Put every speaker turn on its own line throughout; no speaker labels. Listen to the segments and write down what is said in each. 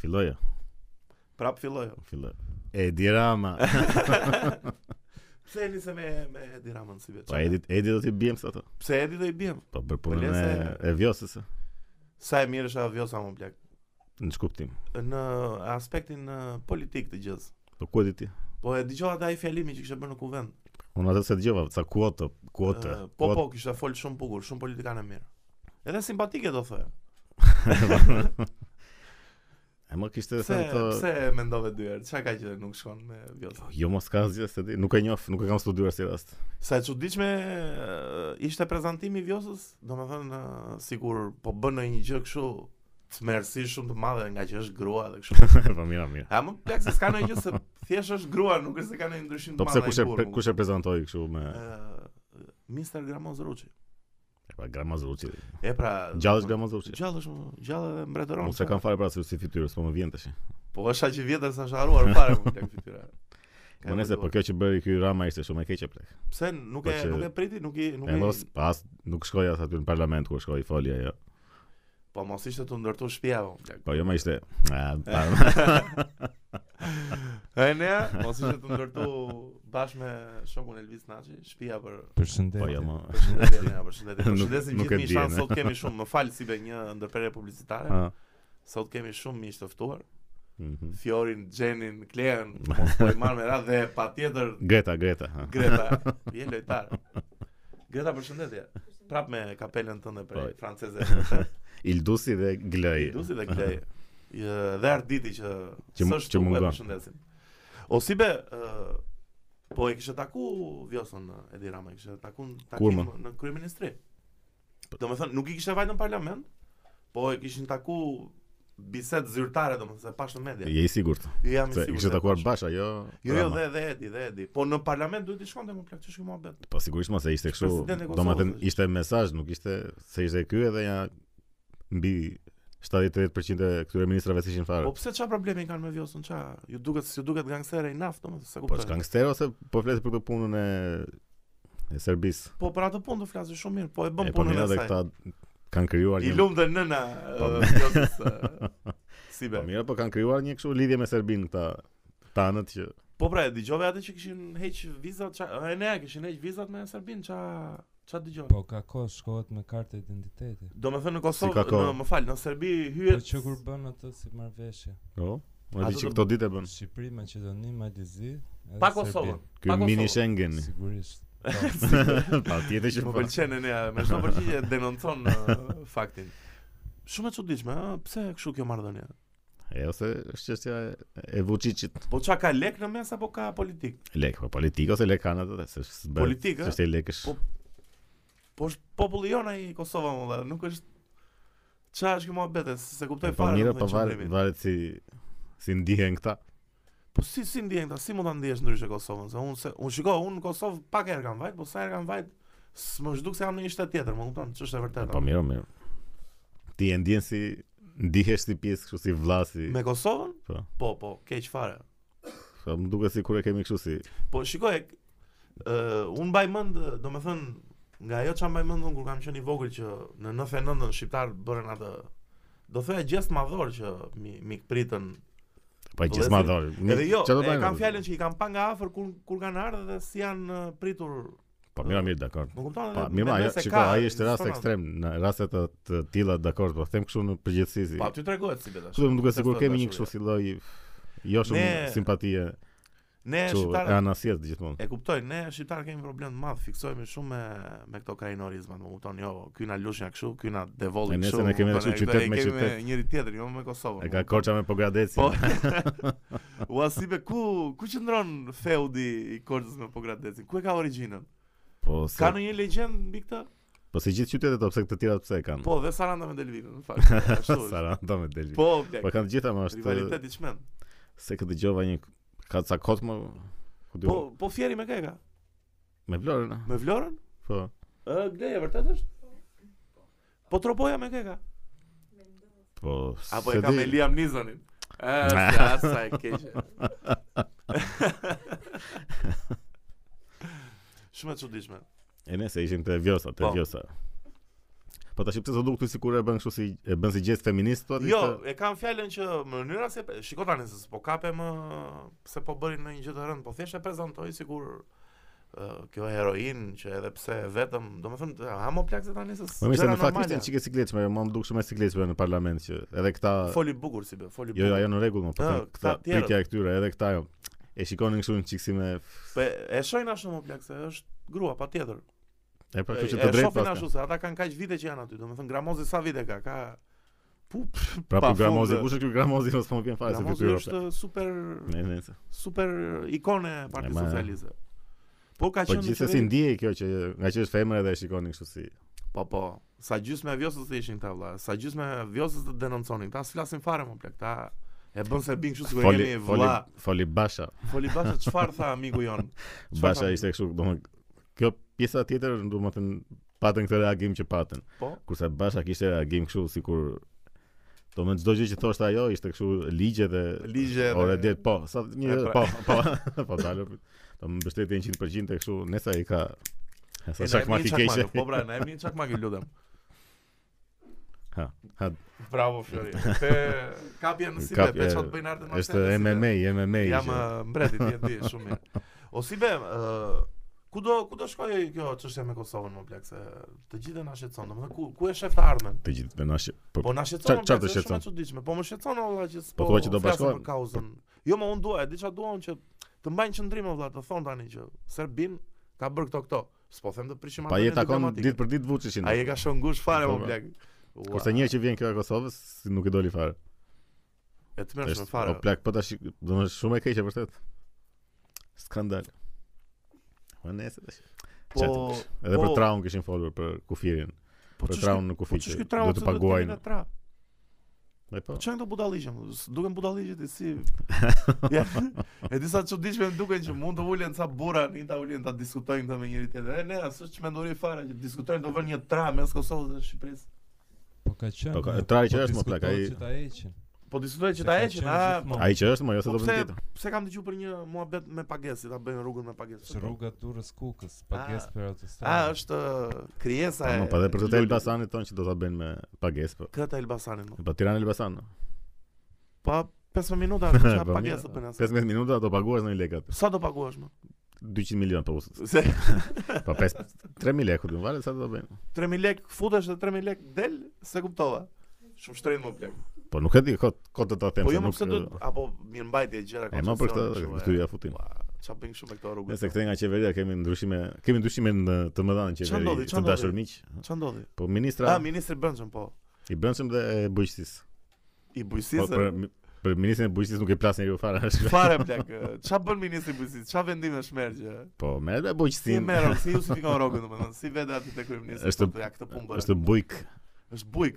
Filloja,
Prap filloj.
filloja. E dirama.
Pse eni se me me Edi Ramën si vetë.
Po Edi Edi do t'i bijem sa ato.
Pse Edi do i bjem?
Po për punën e,
Pëlese-
e vjosës. e.
Sa e mirë është ajo sa më blek.
Në shkuptim.
Në aspektin eh, politik të gjës.
Po ku e di ti?
Po e dëgjova atë ai fjalimi që kishte bërë në kuvent.
Unë atë se dëgjova, ca kuota, kuota.
Eh, po po kishte fol shumë bukur, shumë politikanë mirë. Edhe simpatike do thoya.
E më kishte
Pse
thënë të
pse e mendove dy herë? Çka ka që nuk shkon me Vjosa?
Jo mos ka asgjë se di, nuk e njoh, nuk e kam studiuar si rast.
Sa e çuditshme eh, ishte prezantimi i Vjosës, domethënë eh, sikur po bën ndonjë gjë kështu tmerrësi shumë të madhe nga që është grua dhe kështu.
po mira, mira.
A më plak se s'ka ndonjë gjë se thjesht është grua, nuk është se ka ndonjë ndryshim
Po
të
pse
madh. ai
kush e
burr,
pre- kush e prezantoi kështu me
Ë, Mr. Gramoz Ruçi.
e pa Gramazuçi.
E pra
Gjallë është Gramazuçi.
Gjallë është gjallë dhe mbretëron.
Unë se kam fare para si fytyrës, po më vjen tash.
Po është aq i vjetër sa sharuar fare më plak fytyra. Ka
Po nëse
e
po
vërtetuar.
kjo që bëri ky Rama ishte shumë e keqe plak.
pse nuk
po
e
që-
nuk e priti, nuk i nuk
E
i
mos pas nuk shkoja aty në parlament ku shkoi folja ajo.
po mos ishte të ndërtu shtëpia po. plak.
Po jo më ishte. a, pa,
E ne mos ishte të ndërtu bashkë me shokun Elvis Naçi, shtëpia për
Po
Përshëndetje.
jo më.
përshëndetje ne, përshëndetje.
Nuk-
Përshëndesim
nuk e di,
gjithë mishan,
ne.
sot kemi shumë, më fal si be një ndërprerje publicitare.
a,
Sot kemi shumë miq të ftuar.
mhm.
Fiorin, Gjenin, Klean, mos po i marr me radhë dhe patjetër
Greta, Greta. ha.
Greta, je lojtar. Greta, përshëndetje. Prap me kapelen tënde prej
Po.
franceze.
Ildusi dhe Glej.
Dusi dhe Klej. Ë, Dhe Arditi që
Që mu-
s'është
që
tu, e
mungon.
Përshëndesim. Osibe, ë, po e kishe taku Vjoson ë, Edi Rama, e kishe taku në
Kur,
takim
mo?
në kryeministri. Do me thënë, nuk i kishe vajtë në parlament, po e kishin taku bisedë zyrtare, do me thënë, se pash në media.
Je i sigurt?
Jo, jam i
Se
sigurt
kishte
se
takuar
pash.
Basha, jo.
Jo, jo,
Rama.
dhe, dhe Edi, dhe Edi. Po në parlament duhet të shkonte më plak, që shkimo abet.
Po sigurisht mos e ishte kështu.
Presidenti i Kosovës
Domethënë
është.
ishte mesazh, nuk ishte se ishte ky edhe ja mbi 70-80% e këtyre ministrave që ishin
Po
fare.
pse çfarë problemi kanë me Vjosun, ça? Ju duket, ju duket gangstere i naft, domethënë, se
Po
kuptoj.
është gangster ose po flet për këtë punën e e Serbisë.
Po për atë punë do flasë shumë mirë, po e bën
E po
punën
mira
e
dhe
saj.
këta kanë krijuar
I
një
lumë dhe nëna
Po,
ë,
mi-
Vjosës. ë, Si
Po
be.
mira, po kanë krijuar një kështu lidhje me Serbinë këta tanët që
Po pra, e dëgjove atë që kishin heq vizat, ça e ne kishin heq vizat me Serbin, ça ça dëgjova.
Po ka kohë shkohet me kartë identiteti.
Do me thënë
Si ka
në Kosovë,
kohë?
në, më falë, në Serbi
Po
hyet...
që kur bën atë si marrveshje.
jo,
Po. A
më di
do
që
të-
këto ditë e bën.
Shqipëri, Maqedoni, Malizi, edhe
Pa
Serbi.
Kosovën.
Ky
Pa
mini
Kosovë.
Schengen.
Sigurisht. Po.
Patjetër që
Më
po.
pëlqen e ne, me shumë përgjigje denoncon ë, faktin. Shumë e çuditshme, ë, pse kështu kjo marrëdhënie?
E ose është çështja e- e Vučićit.
Po çka ka lek në mes apo ka politik?
Lek, po politik ose lek kanë ato, se s'bë-
Politik, ë?
s'është e lekësh.
Po, Po është populli jon ai i Kosova më valla, nuk është çfarë është kjo muhabete, se se kuptoj
Po
fare.
mira,
domethënë,
po varet,
qëndrimin.
varet si si ndihen këta.
Po si si ndjen ta, si mund ta ndjesh ndryshe Kosovën? Se unë se unë shiko, unë në Kosovë pak herë kam vajt, po sa herë kam vajt, s'më zhduk se jam në një shtet tjetër, më kupton, ç'është e vërteta.
Po mirë, mirë. Ti e ndjen si ndihesh si pjesë kështu si vlasi.
Me Kosovën?
Po.
Po, po, keq fare.
Po më duket sikur e kemi kështu si.
Po shiko, e ë unë mbaj mend, domethënë nga ajo çfarë mbaj mend unë kur kam qenë i vogël që në 99-ën shqiptar bërën atë do thoya gjest madhor që mi mikpritën
Po
Vëllezër,
gjithë madhor. Mi-
Edhe jo,
çfarë do
e
bëjmë
kam
atë?
fjalën që i kam pa nga afër kur kur kanë ardhur dhe si janë uh, pritur.
Po mira, mirë, dakor.
Më kupton?
Po
edhe
mirë, ma,
mendoj
ajo,
se
shiko,
ka,
ai është rast
ekziston atë.
ekstrem, në raste të, të tilla dakor, po them kështu në përgjithësi. si-
Po aty tregohet si betash.
Kështu më duket sikur
Testohet
kemi një
dashuria.
kështu si lloj jo shumë
Ne-
simpatie,
Ne
kështu e
shqiptarë
anasjellë gjithmonë.
e kuptoj, ne shqiptarë kemi problem të madh, fiksohemi shumë me me këto krajinorizmat, më kupton? Jo, ky na lushnja kështu, ky na
E
devolli
nese
kështu.
ne
më
kemi
kupton,
ashtu
e këta
qytet
e
me
kemi
qytet.
Njëri tjetër, jo me Kosovën.
E
më
ka
kupton?
korça me Pogradeci.
Po. Ua si be ku ku qëndron feudi i Korçës me Pogradecin? Ku e ka origjinën?
Po, se,
Ka ndonjë legjendë mbi këtë?
po si gjithë qytetet, po pse këtë tira pse e kanë?
Po, dhe Saranda me Delvinën, në fakt. Ashtu. është.
Saranda me Delvi. Po,
Po, blek.
kanë të gjitha më është
Rivalitet i çmend.
se këtë dëgjova një ka ca kot më ku do
Po, po fieri me kë e ka?
me Florën. a?
Me Vlorën?
Po.
Ë, gleje vërtet është? Po tropoja me kë e ka?
Po.
Apo
se
e ka
di.
me Liam Neesonin? Ë, se asa e keqe. Shumë e çuditshme.
E ne se ishim te Vjosa, te
Po.
Vjosa. Po Po tash pse do duk këtu sikur e bën kështu si e bën si gest feminist po, thotë.
Jo, e kam fjalën që mënyra se shiko tani se s'po kape më se po bërin ndonjë gjë të rëndë, po thjesht e prezantoi sikur ë, kjo heroin që edhe pse vetëm, domethënë hamoplakse tani se
Po mirë se
gjëra
në fakt
normale.
ishte një çike sikletshme, mua më duk shumë e sikletshme në parlament që edhe këta
Foli bukur si be, foli
jo
bukur.
jo ajo në rregull më, po
Ah,
them, këta
këta tjerët.
pritja e këtyre edhe këta jo. E shikonin kështu në çiksi me
Po e shohin ashtu më plak se është grua patjetër.
e pra kështu që
E-
të
e
drejtë
shohin
pas.
ashtu se ata kanë kaq vite që janë aty. Domethënë Gramozi sa vite ka? Ka pu
Pra
pa
po gramozi,
fund,
kush është ky gramozi mos po më vjen fare se
Gramozi
fytyrë.
është super
Ne ne. se-
super ikone e
E,
Partisë
ma-
Socialiste. Po ka
Po
qenë në
gjithsesi
qeveri-
ndjej kjo që nga që është femër edhe e shikonin kështu si
Po po, sa gjysmë e vjosës të ishin këta vëlla, sa gjysmë e vjosës të denonconin. Këta s'flasin fare më plak, këta e bën se bin kështu sikur
foli
jemi
foli
vëlla.
foli basha.
Foli basha çfarë tha miku jon? Çfarë
Basha
tha?
ishte kështu, domethënë kjo pjesa tjetër, domethënë patën këtë reagim që patën.
Po.
Kurse Basha kishte reagim kështu sikur domethënë çdo gjë që thoshte ajo ishte kështu ligje dhe
Ligje
Ore
dhe-
det po, sa një
E, pra-
po, po, po dalë. Do më mbështetja 100% e kështu, nëse ai ka
E,
Sa
na
shakma
jemi
ti
një
keqe.
çakmak, Po pra, na jemi një çakmak ju lutem.
Ha, ha,
Bravo Flori. Te kapja në sibe,
Kapje-
pe çfarë të bëjnë artën marciale,
Është
si be.
MMA, MMA.
Jam
që-
ë, mbreti ti e di shumë mirë. O si be, ë, ku do ku do shkojë kjo çështje me Kosovën më plak se të gjithë na shqetëson. Domethënë ku ku e shef të ardhmen?
të gjithë me nash. Po
Po na
Qa-
shqetëson.
qa të
Çfarë
shqetëson?
Shumë e çuditshme. Po më shqetëson valla që s'po.
thua që do
flasin
bashkohen?
për kauzën. Jo, më unë dua, e di çfarë duam që të mbajnë qendrim valla, të thon tani që Serbin ka bër këto këto. S'po them të prishim
pa je
anënin
takon
diplomatik.
ditë për ditë Vučićin.
po, Ai e ka shon ngush fare
Po,
më
po.
plak.
Kurse një herë që vjen kjo e Kosovës, si nuk e doli fare.
e të mërshme
Është-
fare.
O plak, po tash, do më shumë e keqe vërtet. Skandal. Po nesër tash.
Po,
Edhe
po,
për traun kishin folur për kufirin.
po
për
ç'është
traun në
ky-
kufi
Po ç'është
që
ky traun
do të
se
paguajnë.
vinë në tra?
E po.
Po çan këto budalliqe, mo, s- duken budalliqet e si. Ja. E disa çuditshme më duken që mund të ulen ca burra në një tavolinë ta diskutojnë këtë me njëri tjetrin. E ne s'është çmenduri fare që diskutojnë do vënë një tra mes Kosovës dhe Shqipërisë.
Po ka qenë.
Po ka-
po,
trari që
po
është, më plak, ai-
diskutohet që ta heqin.
Po diskutojnë që
Se
ta
ka
heqin,
qenë
a
gjithmonë.
Ai që është, mo jo se
Po
do
pse
vjen tjetër.
pse kam dëgjuar për një muhabet me pagesë, ta bëjnë rrugën me pagesë.
Që rruga Durrës Kukës, pagesë për autostradë.
A është ë, krijesa e
Po pa edhe për të
Lulit.
Elbasanit tonë që do ta bëjnë me pagesë po.
Këtë Elbasanit. mo.
Po Tiranë Elbasan. no.
Pa 15 minuta çfarë
Po,
pagesë
mirë,
bën asaj.
15 minuta do paguash në lekë atë.
Sa do paguash më?
200 milion po. us-
Se
Po 5 3000 lekë do valet sa do bëjnë.
3000 lek futesh dhe 3000 lek del, se kuptova. Shumë shtrenjtë më plak.
Po nuk e di, kot kot do ta them.
Po
se
jo më
nuk- eh,
pse do apo mirëmbajtje gjëra
E ma për këtë
koncesionet, kështu,
këtu
e.
ja futim.
Ua, Qa bëjnë shumë me këto rrugë
Nëse kthej nga qeveria kemi ndryshime, kemi ndryshime në të mëdha në
Ç'a
qeveri,
ndodhi, ç'a
të dashur miq.
Qa ndodhi?
Po ministra
A, ministri Brëndshëm, po
i brendshëm dhe e bujqësisë.
I
Po për
bujësisë
për ministrin e bujqësisë nuk i plas njeriu fare. është.
Fare plak e, Qa bën ministri bujësisë? Qa vendime shmerë që
Po merret me
Si
bujqësinë.
merën, si justifikon rrogën domethënë, Si vete aty te kryeministri
Është-
po, ja, këtë punë bën.
Është bujk.
Është bujk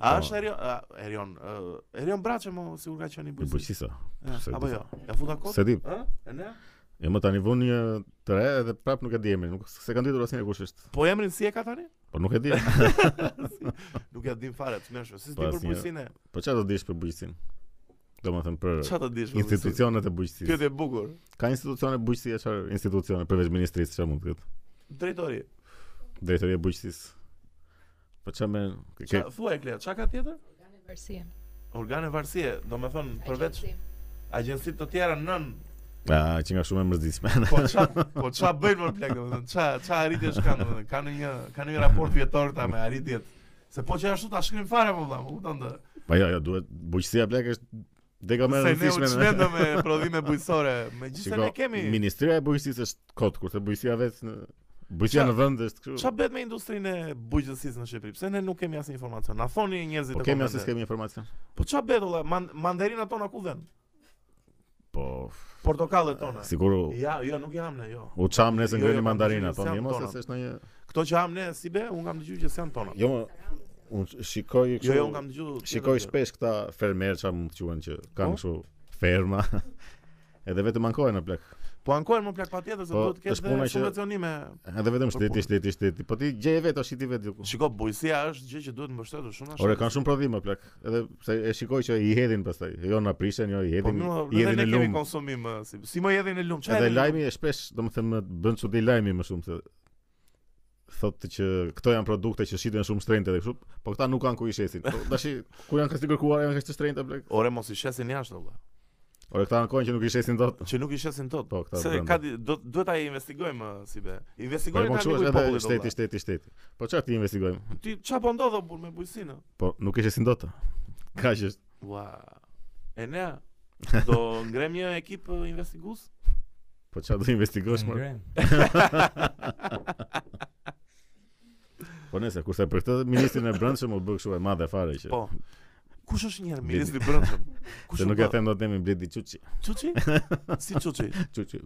A
Po.
është Erion, a, Erion, ë, Erion Braçe mo sigur ka qenë i
I
bujësisë.
bujqësisë.
E,
se
Apo
di.
jo, e futa kot?
Se di,
Ë? E ne?
e më tani vun një të re dhe prap nuk e di emrin, nuk se kanë ditur asnjëherë kush është.
Po emrin si e ka tani?
Po nuk e di.
Nuk ja dim fare, të mëshme. Si
Po,
s'di për
asnjë-
bujësinë? e?
Po çfarë do dish për bujqësinë? Domethënë për
Qa të dish? për bujësinë?
institucionet e bujqësisë.
Pyetje e bukur.
Ka institucione bujqësie çfarë institucione përveç ministrisë çfarë mund të ketë?
Drejtori.
Drejtoria e bujqësisë. Po çfarë më ke
Qa, thuaj Klea, çka ka tjetër?
Përsi.
Organe varësie, do me thënë përveç agjensit të tjera nën,
A, që nga shumë e mërzitshme.
po qa, po qa bëjnë më plek, do me thënë, qa, qa arritjesh kanë, do me thënë, kanë një, kanë një raport vjetor këta me arritjet, se po që ashtu ta shkrim fare më vëlla, më kupton të,
Po jo, jo, duhet bujqësia plak është dega më e
se ne u
Po rëndësishme.
çmendëm me prodhime bujësore, me gjithse ne kemi,
Ministria e Bujqësisë është kot, kurse bujqësia vetë në bujqësia
Qa-
në vend është kështu.
qa bëhet me industrinë e bujqësisë në Shqipëri, pse ne nuk kemi asnjë informacion, na thoni njerëzit
Po
e
kemi
komente.
asë kemi informacion.
Po qa bëhet vëlla, man, mandarinat tona ku vjen?
Po
Portokallet tona.
siguro
Ja, jo, nuk jam ne, jo.
u çam
Jo,
nëse
jo,
ngrëni
kam
mandarina,
dëgjuar
po
se
mirë
janë
mos
tona.
se është ndonjë.
Këto që jam ne si be, un kam dëgjuar që janë tona.
Jo, më unë shikoj
Jo, jo, un
kështu.
kam dëgjuar.
Shikoj shpesh këta fermerë çfarë mund të quhen që kanë
Po?
kështu ferma. Edhe vetëm ankohen në plak.
Po ankohen më plak patjetër se
Po,
duhet të
është puna
ketë
që-
subvencionime.
Edhe vetëm
Po,
shteti,
po.
shteti, shteti. Po ti gjeje vetë, o shiti vetë diku.
Shiko, bujësia është gjë që duhet mbështetur shumë ashtu.
Ore kanë shumë prodhime plak. Edhe se e shikoj që i hedhin pastaj. Jo na prishen, jo i
Po
hedhin.
më
i
edhe
hedhin
ne
në
kemi
lum.
konsumim ë, si, si më jedhin në lum. Çfarë
Edhe
hedhin në lum?
lajmi e shpesh, domethënë më bën çudi lajmi më shumë se thotë që këto janë produkte që shiten shumë shtrenjtë dhe kështu, po këta nuk kanë ku i shesin. Po tash ku janë këto kërkuar janë këto shtrenjtë blek.
Ore mos i shesin jashtë valla.
Ore këta kanë kohën që nuk i shesin dot.
Që nuk i shesin tot.
Po, këta
Se
brenda.
ka di- do duhet ta investigojmë ë, si be.
Po
Investigojmë
po
ta
kështu
diku i
është edhe
popullit.
shteti, shteti,
Shteti.
shteti. Po çfarë ti investigojmë?
Ti çfarë po ndodh o, burr me bujsinë?
Po nuk i shesin dot. Kaq është.
Ua. E ne do ngrem një ekip ë, investigues?
Po çfarë do investigosh më?
Ngrem.
Po nëse kurse për këtë ministrin e brendshëm u bë kështu e madhe fare që.
Po. Kush është njëherë ministri i brendshëm? Kush
Se nuk e
bë?
them dot nemi Bledi Çuçi.
Çuçi? Si Çuçi?
Çuçi.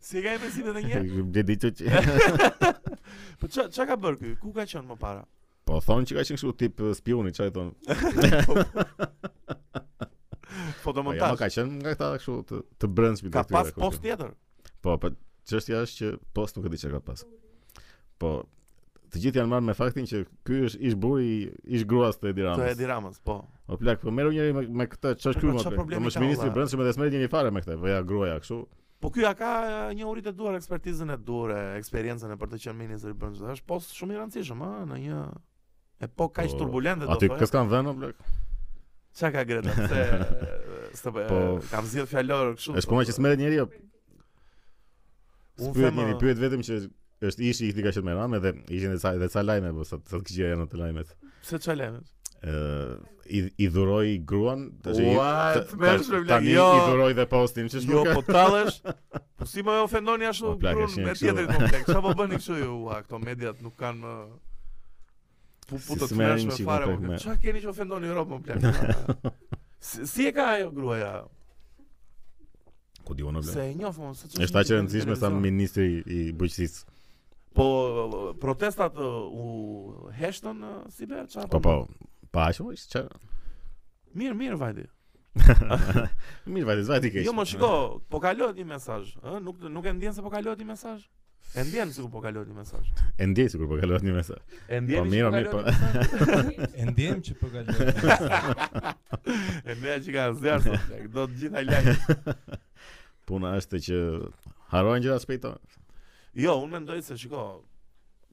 Si e ka impresimin edhe një?
Bledi Çuçi.
Po ç'a ç'a ka bër ky? Ku ka qenë më para?
Po thonë që ka qenë kështu tip eh, spioni, çfarë thonë? Po ja, ma
Fotomontaj.
ka qenë nga këta kështu të, të brendshmit
Ka
të këtyre,
pas
kështu.
post tjetër.
Po, po çështja është që post nuk e di çka ka pas. Po të gjithë janë marrë me faktin që ky është ish buri, i- ish gruas të Edi
Të
Ramës.
Edi Ramës, po.
Po plak, po merru njëri me, me këtë ç'është
Po,
ky
po,
më plak.
çfarë problemi
Po
ka,
më ministri
valla?
i brendshëm edhe smerit jeni fare me këtë. Po ja gruaja kështu.
Po ky ja ka e, një urit e duar, ekspertizën e duar, e, eksperiencën e për të qenë ministër i brendshëm. Është post shumë i rëndësishëm, ëh, në një epokë kaq
Po,
turbulente do
Aty
thoya.
kës kanë vënë o, plak.
Çka ka Greta? Se s'të po,
Po,
kam zgjidh fjalor kështu. po,
Është puna që smerit njeriu.
Unë
Pyet
them,
njëri,
ë,
pyet vetëm që është ishi i këtij ka qenë me Ramë dhe ishin edhe ca edhe ca lajme, po sa sa të këqija janë ato lajmet.
Se çalemet.
Ë i, i dhuroi gruan, tash i
Ua,
ta-
të mërshme,
tash-
plak,
tani
jo.
i dhuroi dhe postin, ç'është
Jo,
nuk
po
ka-
tallesh. Po si më ofendoni ashtu
Po, plak,
grun
është një
me
kështu.
tjetrin kompleks. Çfarë po bëni kështu ju? Ua, këto mediat nuk kanë më pu
Si
pu të
se merrin
tmerrshme
që
fare.
kompleks
mo,
me-
Çfarë keni që ofendoni Europën më plak? Si si e ka ajo gruaja?
Ku diun o, Po plak.
Se e njoh më se ç'është
Është aq e
një
rëndësishme sa
televizion.
ministri i bujqësisë.
Po protestat ë, u heshtën ë, si be çfarë?
Po
po
po,
më?
pa aq më çfarë?
Mirë, mirë vajti.
Mirë, vajte, vajte keq.
Jo, më shiko, po kalohet një mesazh, ë, nuk nuk e ndjen se po kalohet një mesazh. E ndjen sikur po kalohet një mesazh.
E ndjej sikur po kalohet një mesazh.
E ndjen.
Po, mirë, mirë, po.
E ndjem që po kaloj.
E ndjen që ka zjarr sot, plak, do të gjitha lajë.
Puna është që harrojnë gjëra shpejt. o.
Jo, unë mendoj se shiko,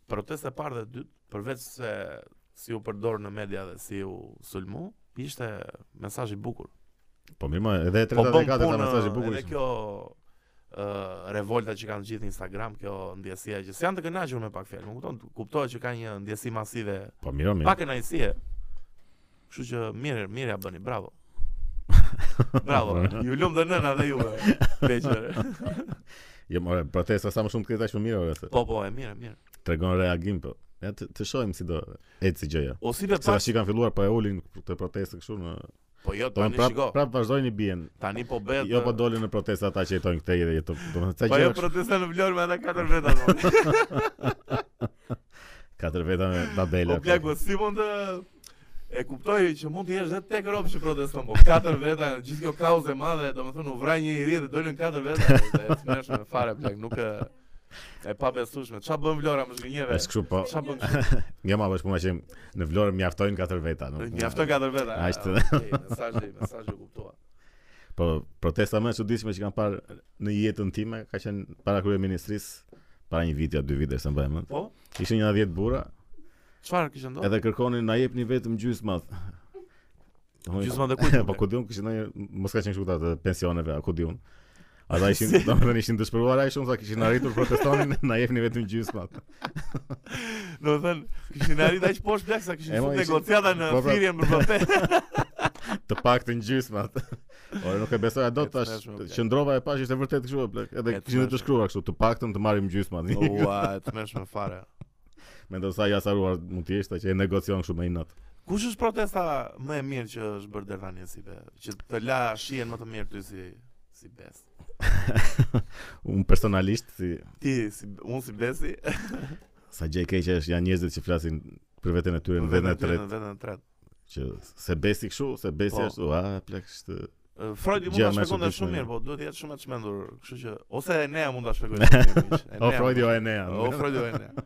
protesta e parë dhe e dytë, përveç se si u përdor në media dhe si u sulmu, ishte mesazh i bukur.
Po mirë, më edhe e
Po
treta
bën
dhe katërta
punë,
mesazh i bukur.
Edhe
ishte.
kjo ë revolta që kanë gjithë në Instagram, kjo ndjesia që s'janë të kënaqur me pak fjalë. Më kupton, kuptohet që ka një ndjesi masive,
Po mirë, o, mirë.
pa kënaqësie. Kështu që mirë, mirë ja bëni, bravo. Bravo. Ju lum dhe nëna dhe juve. Beqër.
Jo, more, protesta sa më shumë të ketë aq më mirë, ore, se
Po po, e mirë, e mirë.
tregon reagim po. Ja të, të shohim si do eci gjëja.
O si be
Se
pak,
tash i kanë filluar po e ulin të protestë kështu në
po jo
Domethënë
tani
prap
shiko.
prap vazhdojnë i bien.
Tani po bëhet.
Jo po dolin në protesta ata që jetojnë këtej dhe jetojnë. Domethënë
Po
çfarë
jo
gjëra.
protesta në Vlorë me ata katër veta. po. domethënë.
Katër veta me
Po
tabela.
plak, po si mund të E kuptoj që mund të jesh edhe tek rob që proteston, po katër veta, gjithë kjo kauzë e madhe, domethënë u vraj një i ri dhe dolën katër veta, dhe e smershme fare plak, nuk e e pa besueshme. Ç'a bën Vlora më zgjënjeve?
Është kështu po.
Ç'a bën?
Jo, ma bash puna që në Vlorë mjaftojnë katër veta, nuk.
Mjafton katër veta. Ah,
Ai është.
Okej, Mesazhi, mesazhi u kuptova.
Po protesta më e çuditshme që kam parë në jetën time ka qenë para kryeministrisë para një viti apo dy vite s'e mbaj mend.
Po,
Ishin një 10 burra,
çfarë kishte ndodhur?
edhe kërkonin na jepni vetëm gjysmë.
Gjysma dhe kujt?
Po ku diun kishin ndonjë mos ka qenë kështu ta të pensioneve, a ku diun. Ata ishin, domethënë ishin dëshpëruar ai shumë sa kishin arritur protestonin, na jepni vetëm gjysmat.
Do të thënë, kishin arritur aq poshtë plak sa kishin
E, mo,
fut
ishin-
negociata në
Po, pra-
thirrjen për Mbappé.
Të paktën gjysmat. Ore nuk e besoja dot
E
tash.
tmeshme, plak.
Qëndrova e pashë ishte vërtet kështu o plak.
E
Edhe kishin edhe të
tmeshme.
shkruar kështu, të paktën të marrim gjysmat.
Ua, të mëshme fare.
Mendoj sa jasaruar mund të jeshta që e negocion kështu me inat.
Kush është protesta më e mirë që është bërë deri tani si be? Që të la shihen më të mirë ty si si bes.
Un personalisht si
Ti si unë si besi.
sa gjë e keqe është janë njerëzit që flasin për veten e tyre në vetën e
ty,
tretë
në vetën e tretë.
që se besi kështu, se besi
Po.
ashtu, a plak është
Ë, Freudi mund
Gjë
ta
më e
shpjegonte
shëndetshme.
shumë mirë, po duhet të jetë shumë e çmendur, kështu që ose Enea mund ta shpjegojë shumë mirë. miq.
O jo Freudi o
Enea mund ta-
Enea.
O Freudi o Enea.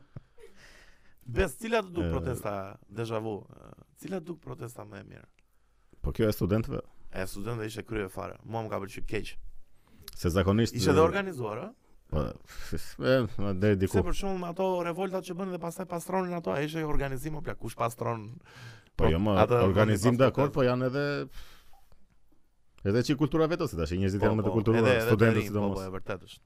Bes, cila të duk
Ë.
protesta deja vu? Ë, Cila të duk protesta më e mirë?
Po kjo e studentëve,
E studentëve ishte krye fare. Mua më ka pëlqyer keq.
se zakonisht
Ishte edhe organizuar, ë?
Po, e, ma deri
Se
diku.
për shembull ato revoltat që bënë dhe pastaj pastronin ato, ai ishte organizim o plak, kush pastron
Po jo, më
atë
organizim
pas-
dakord, po janë edhe edhe çi kultura vetose tash, njerëzit
Po,
janë më të
po, edhe-
kulturuar,
edhe
studentët
tani, Po, po,
sidomos.
e vërtet është.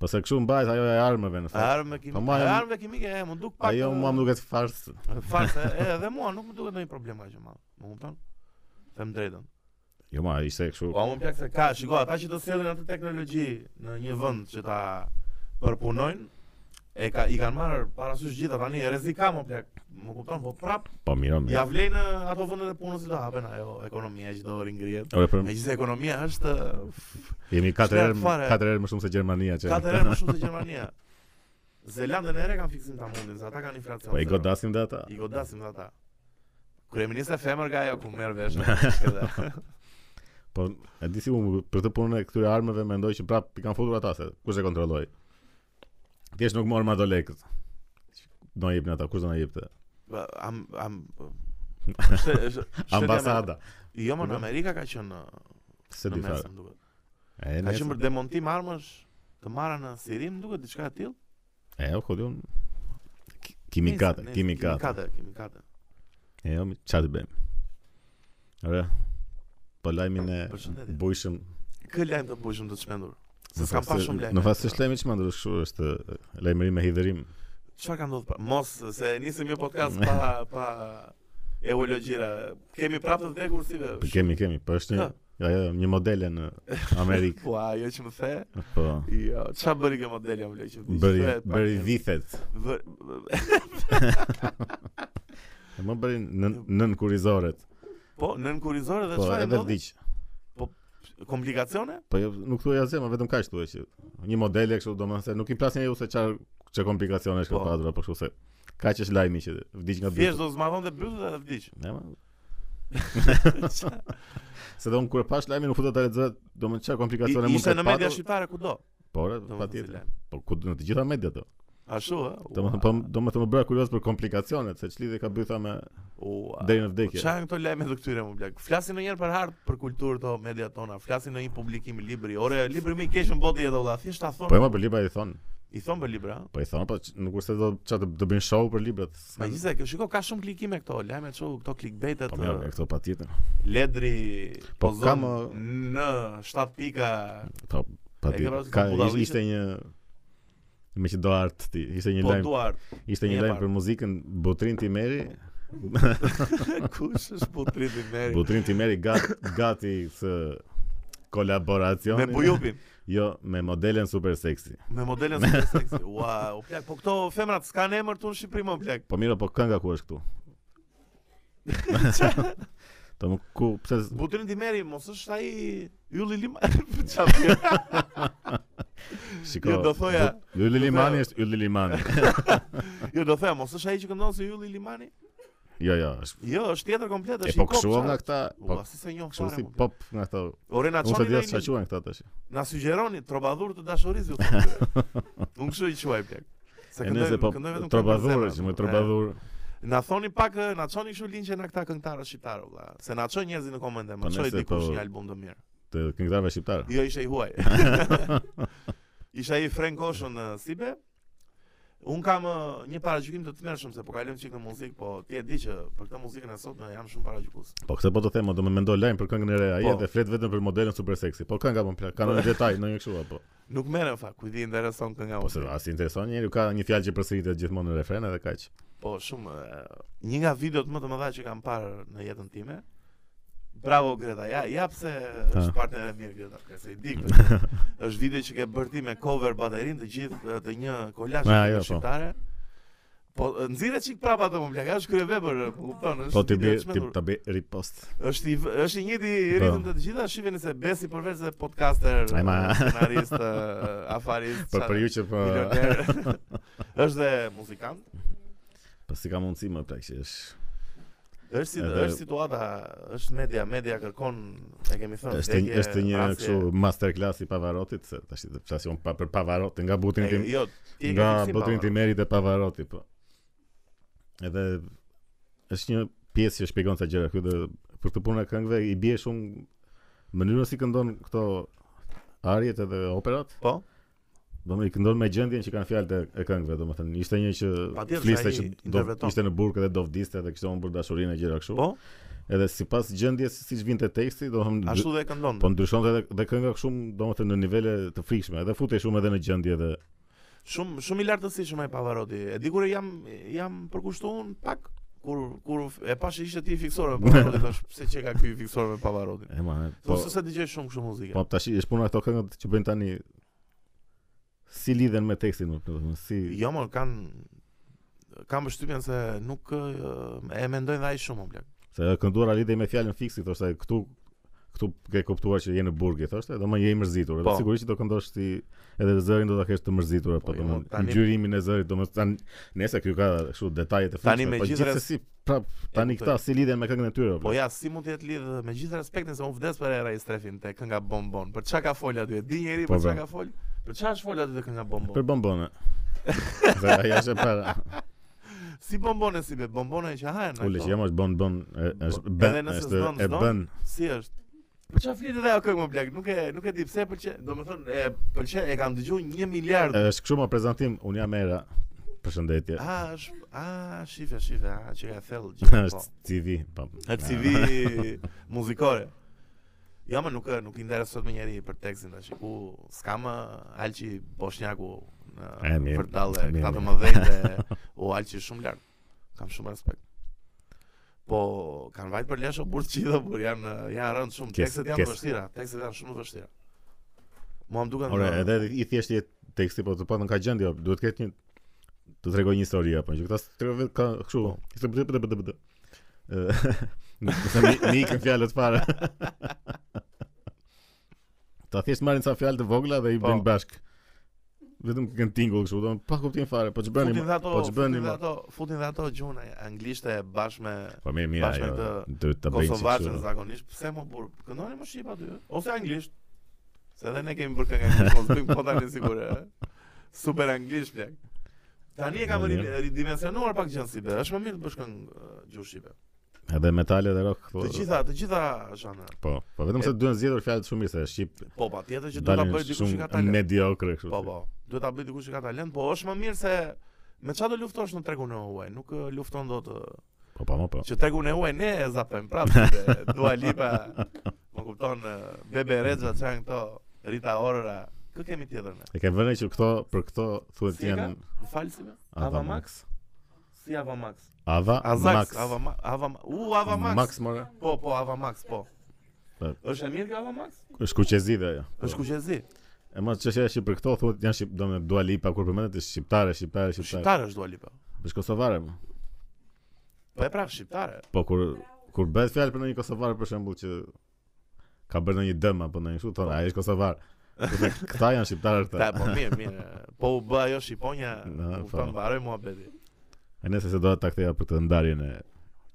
Po se kështu mbajt ajo e armëve në fakt.
Armë
Po,
kimike,
ma jam-
armë kimike, e, më duk pak.
Ajo
e,
mua më duket farsë.
Fakt, e, edhe mua nuk më duket ndonjë problem kaq që madh. Më kupton? Them drejtën.
Jo, ma ishte kështu.
Po më plak se ka, shiko, ata që do sjellin atë teknologji në një vend që ta përpunojnë, e ka i kanë marrë parasysh gjitha tani e rrezik ka më plak. Më kupton, po prap
Po mirë,
ja
mirë.
vlen e, ato vendet e punës që do hapen ajo ekonomia që do ringrihet.
Ore, për,
Megjithëse ekonomia është
jemi 4
Shkret
herë
fare.
4 herë më shumë se Gjermania që.
katër herë më shumë se Gjermania. Zelandën e re kanë fiksim ta mundin, se ata kanë inflacion.
Po i
zero.
godasim dhe ata.
I godasim dhe ata. Kryeminist e femër ka ajo ku merr vesh. edhe.
Po e di si unë për të punën e këtyre armëve mendoj që prap i kanë futur ata se kush e kontrolloi. Thjesht nuk morëm ato lekët. Do na jepni ata, kush do na jepte?
Ba, am am shte- shte- shteti
Ambasada.
Amer- Jo, më në Amerika ka qenë në,
Se
në
di
mes,
fare.
më duket.
E
Ka qenë për
ne.
demontim armësh të marra në Sirim, më duket diçka e tillë.
E u kodion.
Nese,
Kimikate,
nese,
kimikate.
Kimikate, kimikate.
E jo, mi- çfarë të bëjmë? Ore. Po lajmin e
Përshëndetje.
bujshëm.
Kë lajm të bushëm të çmendur. Se s'kam pas shumë lajme.
Në fakt është lajmi që më ndrosh kështu është e, lajmëri me hidhërim.
Çfarë ka ndodhur? pra? Mos se nisëm një podcast pa pa eologjira. Kemi prapë të vdekur si
Po kemi, kemi, po është një
Ha.
jo, jo, një modele në Amerikë.
Po ajo që më the.
Po.
Jo, çfarë bëri kjo modeli am vlej që vdiq?
Bëri
Thuhet, pa,
bëri
kem-
vithet.
vë- vë-
E më bërin nën, nën kurizoret.
Po, nën kurizore dhe
Po,
çfarë
edhe
ndodhi?
vdiq.
Komplikacione?
Po jo, nuk thuaj asgjë, më vetëm kaq thuaj që një modele kështu domethënë se nuk i plasni ju se çfarë çe komplikacione është
Po.
ka pasur apo kështu se kaq është lajmi që vdiq nga bitë.
Thjesht do zmadhon dhe byll dhe vdiq.
Ne ma. Se do unë kur e pash lajmin u futa ta lexoj domethënë çfarë komplikacione
I-
mund
Ishte
të
në media
patur.
shqiptare kudo.
Po, ore,
domethënë, si
patjetër.
lajm.
Po ku në të gjitha mediat do.
Ashtu ë?
Domethënë po domethënë më bëra kurioz për komplikacionet se ç'lidhje ka bytha me
Ua.
deri në
Po
vdekje.
Çfarë janë këto lajme të këtyre më blaq? Flasin ndonjëherë për hart, për kulturë to mediat tona, flasin në një publikim i libri. Ore, libri më i keq në botë jetë valla. Thjesht ta
Po e
thon.
ma për libra i thon.
I thon për libra. ë?
Po i thon, po ç- nuk është se do çfarë të- të bëjnë show për librat. s'kan-
Megjithëse, Po kjo shiko ka shumë klikime këto, lajme çu, këto
Pra-
clickbaitet.
Po mirë,
ë,
e këto patjetër.
Ledri
Po,
pozon
kam, uh,
në 7 pika.
Po, pa
E
di.
ke parasysh
Ka
ka budalliqe?
ish- ishte një me që do art ti, ishte një
Po
lajm,
Duart,
ishte një
një
lajm
par.
për muzikën Botrin Timeri.
kush është putriti meri?
Botrin Timeri gati gati së kolaboracioni.
Me bujupin.
Jo, me modelen super seksi.
Me modelin super seksi. Ua, u plak, po këto femrat s'kan emër tu në Shqipëri më plak.
Po miro, po kënga ku është këtu? Po më ku pse s-
Butrin Dimeri mos është ai Ylli Limani çfarë?
shiko.
Jo, do thoja-
Bu- Ylli Limani është Ylli Limani.
Jo do them, mos është ai që këndon si Ylli Limani?
Jo, jo, është
Jo, është tjetër komplet,
E
është
po
i kopë,
këshuam nga
çfarë?
këta, po
Ua, si se njoh
kështu
fare.
si
më plak.
pop nga këto.
Ore na
Unë se
çoni
di
na,
as çfarë
një-
quhen këta tash.
na sugjeroni trobadhur të dashurisë ju. thonë këtyre. Unë kështu i quaj plak. Se
E nëse po trobadhur, që
po,
më trobadhur.
Na thoni pak, eh, na çoni kështu linçe na këta këngëtarë shqiptarë vëlla, se na çojnë njerëzit në komente,
Po
më çoj
nëse
dikush
po-
një album të mirë.
të këngëtarëve shqiptar.
Jo, isha i huaj. isha i Frank Ocean në Sibe. Un kam ë, një paragjykim të tmerrshëm se po kalojm çik në muzikë, po ti e di që për këtë muzikën e sotme jam shumë paragjykues.
Po këtë po të them, do më mendoj lajm për këngën e re ai
Po.
dhe flet vetëm për modelin super seksi. Po kënga po më plak, kanë në detaj ndonjë kështu apo.
Nuk merrem fa, kujt i intereson kënga jo.
Po se
unë.
as i intereson njeriu ka një fjalë që përsëritet gjithmonë në refren edhe kaq.
Po shumë ë, një nga videot më të mëdha që kam parë në jetën time. Bravo Greta, ja, jap se është
Ha.
partner e mirë Greta, ka se i di këtë. është video që ke bërë ti me cover baterin të gjithë ë, të një kolazhi
Ah,
të
jo, po.
shqiptare. Po ë, nxirre çik prapa atë më blaq, është kryevepër, po kupton, është.
Po ti
video
bi
e
ti
çmendur.
ta bi ripost.
Është i v- është i njëjti ritëm të të gjitha, shiheni se Besi përveç se podcaster,
Ai, ma-
skenarist, ë, afarist,
Po për ju që po
milioner. është dhe muzikant.
po si ka mundësi më plak që është
Është si
Edhe-
është situata, është media, media kërkon, e kemi thënë.
është
Po, vdekje,
është një
vrasje.
kështu masterclass i Pavarotit, se tash të flasim pa për Pavarotin nga butin tim.
E, Jo, ti e ke
nga
fiksim,
botrin
Paolo.
Timeri dhe Pavarotti, po. Edhe është një pjesë që shpjegon sa gjëra këtu dhe për këtë punë e këngëve i bie shumë mënyrën si këndon këto arjet edhe operat
Po,
Do më i këndon me gjendjen që kanë fjalët e- e këngëve, domethënë ishte një që
Patjetër,
fliste
sa
që
i
do
interpreton.
ishte në burg edhe do vdiste edhe kishte humbur dashurinë e gjëra kështu.
Po,
Edhe sipas gjendjes siç vinte teksti, domethënë
ashtu dhe e këndon.
po ndryshonte edhe dhe kënga shumë domethënë në nivele të frikshme, edhe futej shumë edhe në gjendje edhe
Shumë shumë i lartësishëm ai Pavaroti. E di kur jam jam përkushtuar un pak kur kur e pash ishte ti fiksore me Pavarotin, thash pse çe ka ky fiksore me Pavarotin.
e ma, po
Po se se dëgjoj shumë kështu muzikë.
po tash është puna këto këngët që bëjnë tani si lidhen me tekstin, më plot, domethënë si
Jo më kanë kam përshtypjen se nuk ë, e mendojnë dhe ai shumë o blek.
se e kënduara lidhej me fjalën fiksi, thoshte këtu këtu ke kuptuar që je në burg, i thoshte, do më je i mërzitur. Edhe
Po.
sigurisht që do këndosh ti edhe zërin do ta kesh të mërzitur apo
Po,
do
jo,
më
tani-
ngjyrimin e zërit, do më tani nëse ky ka kështu detajet e
Tani
frikshme,
me
po
gjithë res-
gjithsesi prap tani
E, kuptoj.
këta si lidhen me këngën e tyre.
Po ja, si mund të jetë lidh me gjithë respektin se unë vdes për era i strefin te kënga Bombon. Për çka ka fol aty? E Di njeri
Po,
për çka
bra.
ka fol? Për çka është fol aty te kënga
Për
Bombon?
bombone. Dhe ajo është e para.
Si bombone si be, bombone që hahen.
Ule,
ato.
që jam është bon bon, e- është
po. Edhe
bën,
nëse
është
s'don,
e
s'don?
bën.
Si është? Për çfarë flitet ajo këngë më blaq? Nuk e nuk e di pse pëlqen, domethënë e pëlqen, e kam dëgjuar 1 miliard.
Është kështu më prezantim, unë jam era. Përshëndetje.
A, është, a, shife, shife, a, që ka thellë gjithë, po. Ah,
Është CV, po.
Atë CV muzikore. Ja, më nuk nuk i interesot më njeri për tekstin tash. Ku s'ka më Alçi Bosnjaku
E,
në
mirë,
Vërdalle,
e, mirë,
këta të
mirë.
më dhejtë, u Alçi shumë lart. Kam shumë respekt. Po kanë vajt për Lesho burr çidha burr janë janë rënë shumë
Kes-
tekstet janë të
kes.
vështira, tekstet janë shumë të vështira. Mua më duken
Ore,
ë,
edhe i thjesht jetë teksti, po të patën ka gjendje, o, duhet të ketë një të tregoj një histori apo që këta s- tregove ka kështu.
Po.
Ishte bd bd bd bd. Ëh, mi kanë fjalët fare. Ta thjesht marrin sa fjalë të vogla dhe i
Po.
bëjnë bashk. Vetëm kanë tingull kështu, domethënë pa kuptim fare, po ç'bëni?
futin dhe ato,
po ç'bëni?
futin dhe
mo?
ato, futin dhe ato gjuna anglishte bashkë me
Po mirë, mirë,
Bashkë me
ajo.
këtë
Duhet ta bëjnë si
Kosovaçën
kështu.
zakonisht, pse më burr? Këndoni më shqip aty, ë? ose anglisht. Se edhe ne kemi bërë këngë anglisht, mos bëjmë po tani sigurt. ë? Super anglisht plak. Tani e kam
Mirë.
ri- ridimensionuar pak gjën si be, është më mirë të bësh këngë ë, gjuhë shqipe.
Edhe metale dhe rock. po-
Të gjitha, të gjitha zhanre.
Po, po vetëm se duhen zgjedhur fjalët shumë mirë se shqip
Po, patjetër që duhet ta
dalin
bëj dikush që ka
shumë
talent.
mediokre kështu.
Po, po. Duhet ta bëj dikush që ka talent, po është më mirë se me çfarë do luftosh në tregun e huaj, nuk ë, lufton dot ë,
Po, po, mo, po.
Që tregun e huaj ne e zapem prapë si dhe Dua Lipa Më kupton eh, Bebe Rexha që janë këto Rita Ora Kë kemi tjetër ne?
E ke vënë që këto për këto thuhet
Si e ka?
janë
Më Falë si me?
Ava
Ava
Max.
Max? Si Ava Max?
Ava Max.
Azax Ava Max Ava Ma- U Ava Max
Max more.
Po po Ava Max po
Po.
është e mirë kjo Ava Max?
Është kuqezi dhe ajo.
është kuqezi
E mos çështja është që për këto thuhet janë shqip, domethënë Dua Lipa kur përmendet është shqiptare, shqiptare, shqiptare.
Shqiptare është Dua Lipa
Është kosovare. mo.
Po e pra shqiptare
Po kur kur bëhet fjalë për ndonjë kosovar për shembull që ka bërë ndonjë dëm apo ndonjë kështu, thonë ai është kosovar. Kurse Këta janë shqiptarë
Po. Ta
këta.
po mirë mirë Po u bë ajo shqiponja
Na,
Më
po.
kupton varoj mua beti
E nëse se do ta ktheja për këtë ndarjen e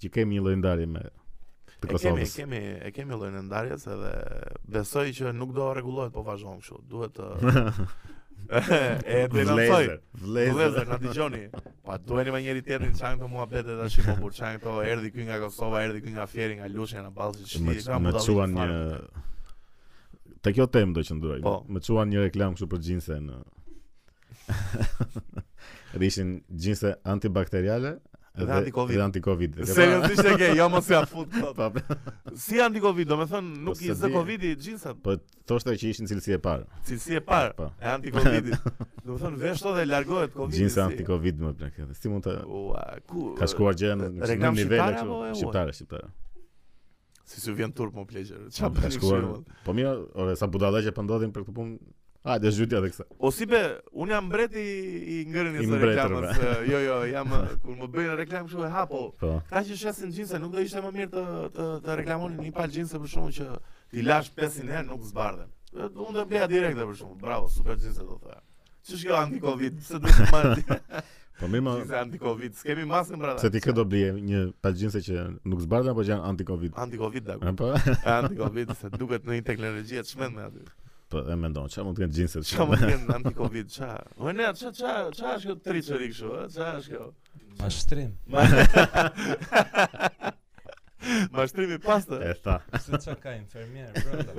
që kemi një lloj ndarje me të
E kemi, e
Kosovës.
kemi, e kemi llojin e ndarjes edhe besoj që nuk do rregullohet po vazhdon kështu. Duhet të e denoncoj.
Vlezër,
Vëllezër,
vlezër.
na dëgjoni. Pa duheni me njëri tjetrin çan këto muhabete tash po kur çan këto erdhi ky nga Kosova, erdhi ky nga Fieri, nga Lushnja, nga Ballçi,
Më
shiti
më çuan një Te kjo temë do qëndroj.
Po.
Më çuan një reklam kështu për gjinse në Edhe ishin gjinse antibakteriale
Dhe anti-covid.
Dhe anti-covid. Dhe
Seriozisht e ke, jo mos ja fut
pa-
kot.
pa-
Si anti-covid, domethënë nuk
Po,
i
se
zë
di.
covidi xhinsat,
Po thoshte që ishin cilësi e parë.
cilësi e parë
Po.
e anti-covidit. Domethënë vesh to dhe largohet covidi.
Gjinse anti-covid më plak. edhe Si mund të
Ua, ku
ka shkuar gjë në në
reklam
nivele
shqiptare
kështu?
apo e huaj?
Shqiptare, shqiptare.
Si si vjen turp më pleqer.
Po, Ka
Çfarë bën
shkuar-
kështu?
Po mirë, ore sa budallaqe po ndodhin për këtë punë. Hajde zhytja edhe kësaj.
O si be, unë jam mbreti i
I
ngërënjes së
mbretërve.
reklamës. eh, Jo, jo, jam eh, kur më bëjnë reklam kështu e hapo.
Po.
Ka që shesin gjinse, nuk do ishte më mirë të të, të reklamonin një palë gjinse për shkakun që ti lash 500 herë nuk zbardhen. Eh, Unë do bleja direkte për shkakun. Bravo, super gjinse do thoya. Ç'është kjo anti-covid? Pse duhet të marr
Po mirë, ma-
gjinse anti-covid? S'kemi maskën brada.
se ti këtë do blije një palgjinse që nuk zbardhen apo që janë anti-covid.
anti-covid da.
E, Po.
Anti-covid se duket në një teknologji të shmendme aty.
Po e mendon, çfarë mund të kenë gjinset?
Çfarë mund të kenë anti-covid? Ç'a? Ua ne, ç'a ç'a ç'a është kjo triçëri kështu, ë? Ç'a është kjo?
Mashtrim.
Ma- Mashtrimi pastër.
E tha.
Se çka ka infermier brenda.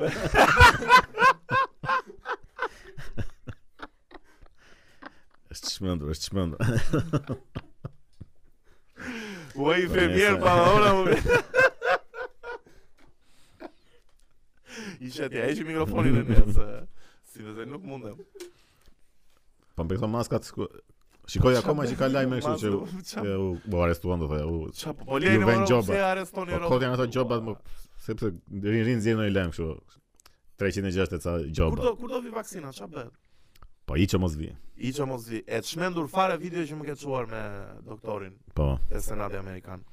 Është çmendur, është çmendur.
Ua i
Po,
fermier
nesër.
pa ora më. Isha ti ai mikrofonin e nesë. Si vete nuk mundem.
Po me këto maskat sku- shikoj Po, akoma që ka lajme kështu që u- që
që
u u arrestuan do thoya, u
Qa po lejnë
Ju
më
vënë
rrë
gjobat.
se arrestoni
Po kot janë ato gjobat më sepse rin rin zjerë në lajm kështu. 360 ca
Kur do
gjoba.
kur do vi vaksina, qa bëhet?
Po i që mos vi.
I që mos vi, e të shmendur fare video që më ke quar me doktorin
Po.
e senati Amerikan.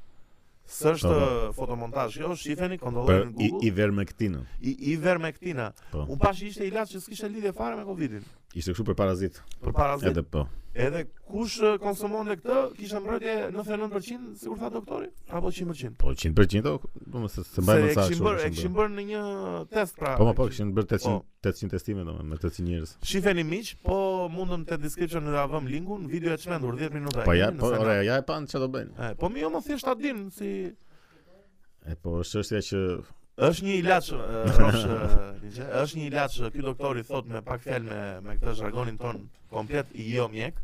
Së është fotomontaj, jo, shifeni,
Për
kontrollojnë në
i i
Google,
vermektinën.
i, i vermektina.
Po.
Unë pash ishte ilaç që s'kishte lidhje fare me Covidin.
Ishte kështu për parazit.
Për parazit,
Edhe po.
Edhe kush e, konsumonte këtë, kishte mbrojtje 99%, sikur tha doktori, apo 100%.
Po 100% o, do më se se mbajnë
e
sa
kishin
kështu.
bërë, e
kështu
kishin
bërë.
bërë në një test pra.
Po më
e
po
kishin-
kishin bërë 800
Po.
800 testime domethënë me 800 njerëz.
Shifeni miq, po mundëm te description ta vëm linkun, video e çmendur 10 minuta.
Po
e
ja,
keni
po
nëse
ora
na-
ja e pan çfarë do bëjnë.
E, po mi jo më thjesht ta din si
E po është çështja që
është një ilaç e, Rosh, e, Ligje, është një ilaç e, ky doktori thot me pak fjalë me me këtë zhargonin ton komplet i jo mjek.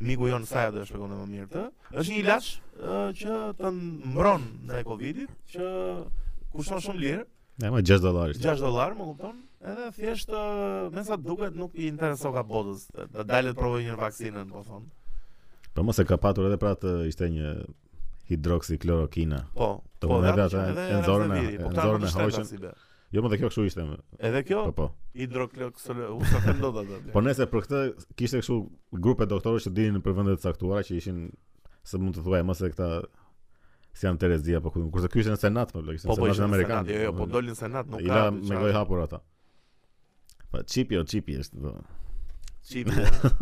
Miku jon sa do e shpjegon më mirë të. Është një ilaç e, që të mbron ndaj Covidit, që kushton shumë lirë,
e më 6 dollarë.
6 dollar, më kupton? Edhe thjesht e, me sa duket nuk i intereson ka botës. Da dalet provoj një vaksinën, po thon.
Po mos e ka patur edhe pra të ishte një hidroksiklorokina.
Po.
Do
po,
më
dhe atë
merr atë,
ishin edhe
e nxorën e-
Remdesivir,
e
po këta
nxorën
nuk
e
i shtreta
hoqën.
si be.
Jo më dhe kjo kështu ishte. më.
Edhe kjo
Po po.
hidrokloksole, u sa të ndodh atë.
Po nëse për këtë kishte kështu grupe doktorësh që dinin për vende të caktuara që ishin se mund të thuaj mos e këta si janë Terezia apo ku kurse ky ishte në Senat më blej, ishte
Po
në
po
Senat
ishte
amerikan.
amerikan. Jo, jo, po dolin senat, nuk
I la
ka.
me gojë hapur ata. Po çipi o çipi është. Do.
Çip.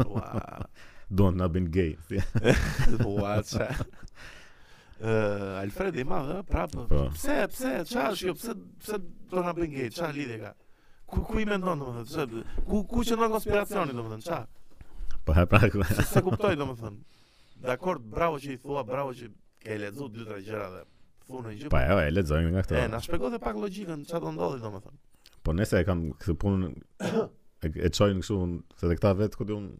Ua.
Duan na bin gay. Si,
Ua. ça. Ë, Alfredi i madh, ë, prap.
Po.
Pse, pse, çfarë është kjo? Pse, pse do na bën gay? Çfarë lidhje ka? Ku ku i mendon domethënë? Çfarë? Ku ku që ndon konspiracioni domethënë? Çfarë?
Po ha pra. ku-
Se se kuptoj domethënë. Dakor, bravo që i thua, bravo që ke lexuar dy tre gjëra dhe thunë një
Po
gjë.
jo, e lexojmë nga këto.
E, na shpjegoj edhe pak logjikën, çfarë do ndodhi domethënë.
Po nëse e kam këtë punën e, e çojnë kështu unë, se dhe këta vetë ku diun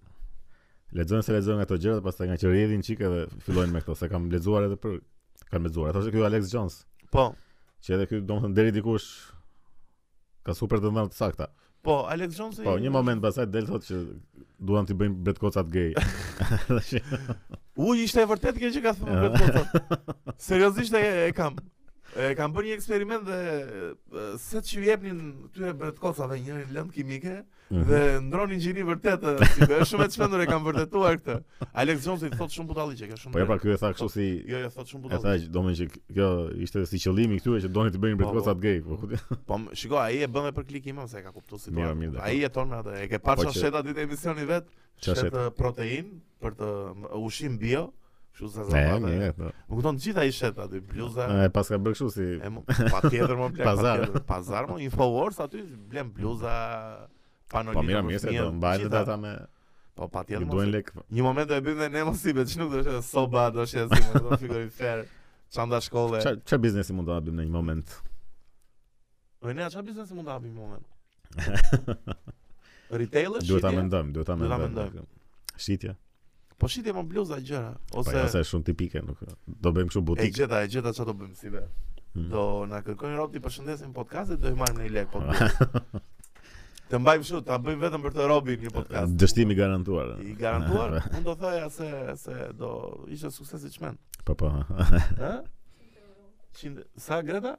lexojnë se lexojnë ato gjëra, pastaj nga që rrjedhin çikë dhe fillojnë me këto, se kam lexuar edhe për kam lexuar. Ato është ky Alex Jones,
Po.
që edhe ky domethënë deri dikush ka super të ndërmend të sakta.
Po, Alex Jones.
Po, një moment pastaj del thotë që duan t'i bëjnë bretkocat gay.
U, ishte e vërtet kjo që ka thënë
Ja.
Brad Pitt. po. Seriozisht e, e kam. E kam bërë një eksperiment dhe e, se që ju jepnin këtyre bretkocave një lëndë kimike
Mhm.
dhe ndronin gjini vërtet, e, si be, është shumë e çmendur e kam vërtetuar këtë. Alex Jones i thot shumë budalliqe, ka shumë.
Po ja pra
drejt.
ky e tha kështu si
Jo, jo, thot shumë
e tha
budalliqe.
që domethënë që kjo ishte si qëllimi këtyre që donin t'i bëjnë
Po, po.
bretkocat gay. Po, ku di-
Po, m- shiko, ai e bën dhe për klikim, se e ka kuptuar
Mirë, mirë,
situatën.
dakor.
Ai jeton me atë, e ke parë
Po
çfarë
që-
sheta ditë emisioni vet,
Çfarë
shet
sheta?
e, protein për të m- ushqim bio, kështu sa
Ne,
zafata.
ne, po.
Më kupton të gjitha i shet aty, bluza,
E pas ka bërë kështu si
E mo, pa tjetër më plak,
Pazar.
pa tjetër, pazar më, Infowars aty blen bluza, panolina,
Po mira, mirë se do mbajnë edhe ata me
Po pa
ju
tjetër mos
duhen
e-
lek.
Një moment do e bëjmë dhe ne mos i që nuk do shë soba, do shë si më do frigorifer, çanda shkolle.
Çfarë çfarë biznesi mund të hapim në një moment?
Oj, ne çfarë biznesi mund të hapim në moment? Retail është
Duhet ta
shitje?
mendojmë, duhet ta
Duhet ta
mendojmë. Shitja.
Po shitje më bluza gjëra,
Po
ose
ja, se është shumë tipike, nuk do bëjmë kështu
e
butik.
gjeta, e gjeta çfarë do bëjmë si be.
Mm.
Do na kërkojnë rob të përshëndesim podcastet, do i marrim në i lek po. Të mbajmë kështu, ta bëjmë vetëm për të robin një podcast.
Dështimi garantuar.
I garantuar, unë do thoja se se do ishte sukses i çmend.
Po po.
Ë? Qinde, sa Greta?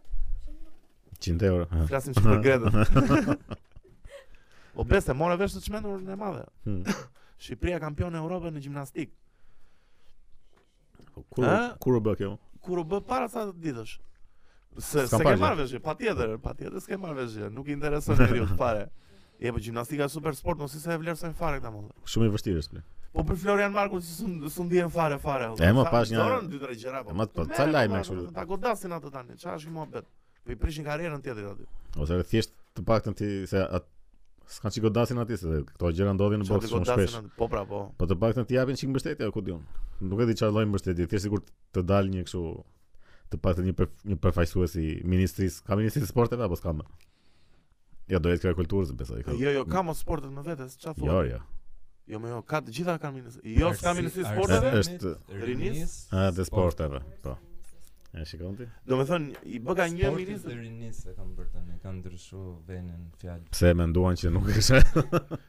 100 euro. ha.
Flasim që për Gretën. o beste, mora vesh të çmendur në madhe.
Hmm.
Shqipëria kampion e Europës në gjimnastik.
Po, Kur
Ë?
kur u bë kjo?
Kur u bë para sa ditësh. Se
S'kam
se
parë
ke
gjë.
marrë vesh, patjetër, patjetër s'ke marrë vesh, gjë, nuk i intereson njeriu fare. Je, po gjimnastika është super sport, mos i se e vlerësojnë fare këta mollë.
Shumë i vështirë është. bre.
Po për Florian Marku si sun sun ndjen fare fare. holla.
E, mo,
Sa-
pash një-
dorën dy tre gjëra
E, mo, po,
Merre,
ca lajme
valla,
kështu.
Ta godasin atë tani. Çfarë është ky mohabet? Po i prishin karrierën tjetrit aty.
Ose edhe thjesht të paktën ti se at s'kan çiko dasin aty se këto gjëra ndodhin në
Çfarë
boks
të
shumë
godasin
shpesh.
aty? Po pra po.
Po të paktën ti japin çik mbështetje, ku diun. Nuk e di çfarë lloj mbështetje, thjesht sikur të dal një kështu të paktën një përf, një përfaqësues i ministrisë, ka ministri i sporteve apo s'ka më? Ja do jetë kjo e kulturës besoj. kjo-
Jo, jo, ka mos sportet me vetes, çfarë thua?
Jo, jo.
Jo, më jo, ka të gjitha kanë minus. Jo, s'ka minus sporteve.
Arsi- Është-
rinis.
A, dhe sporteve, po. E shikon ti?
Domethënë i bë ka një
Sportet
minis.
e rinis e kam bërë tani, kam ndryshuar venën fjalë.
Pse e menduan që nuk është?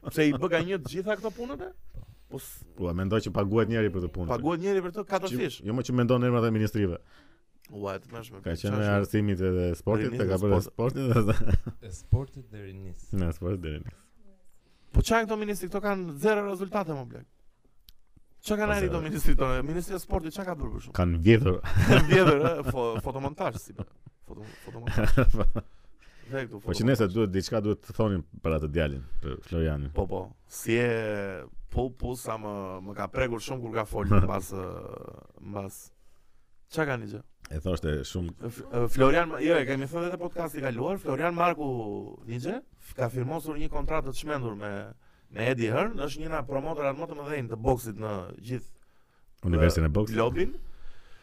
Pse i bë ka një të gjitha këto punët? e? Po s-
Ua, mendoj që paguhet njëri për të punë.
paguhet njëri për to katërfish.
Që- Jo më që mendon emrat e ministrive.
Ua, të mëshme.
Ka qenë me arsimit edhe sportit,
Rinis
të ka
dhe
bërë
sport.
sportin dhe
E sportet dhe rinis.
në sport deri.
Po çka këto ministri këto kanë zero rezultate më blek. Çka kanë arritur
Ose-
ministrit tonë? Ministria e Sportit çka ka bërë për shkak?
Kan vjedhur.
Vjedhër, ë, eh, fo- fotomontazh si. be. Foto fotomontazh. Dhe këtu.
Po që nëse duhet diçka duhet të thonin për atë djalin, për Florianin.
Po po. Si e po po sa më më ka prekur shumë kur ka folur mbas ë, mbas Çka kanë gjë?
E thoshte shumë
F- ë, Florian, jo, e kemi thënë edhe podcasti kaluar, Florian Marku Nigje ka firmosur një kontratë të çmendur me me Eddie Hearn, është një nga promotorat më të mëdhenj të boksit në gjithë
universin e boksit.
Globin.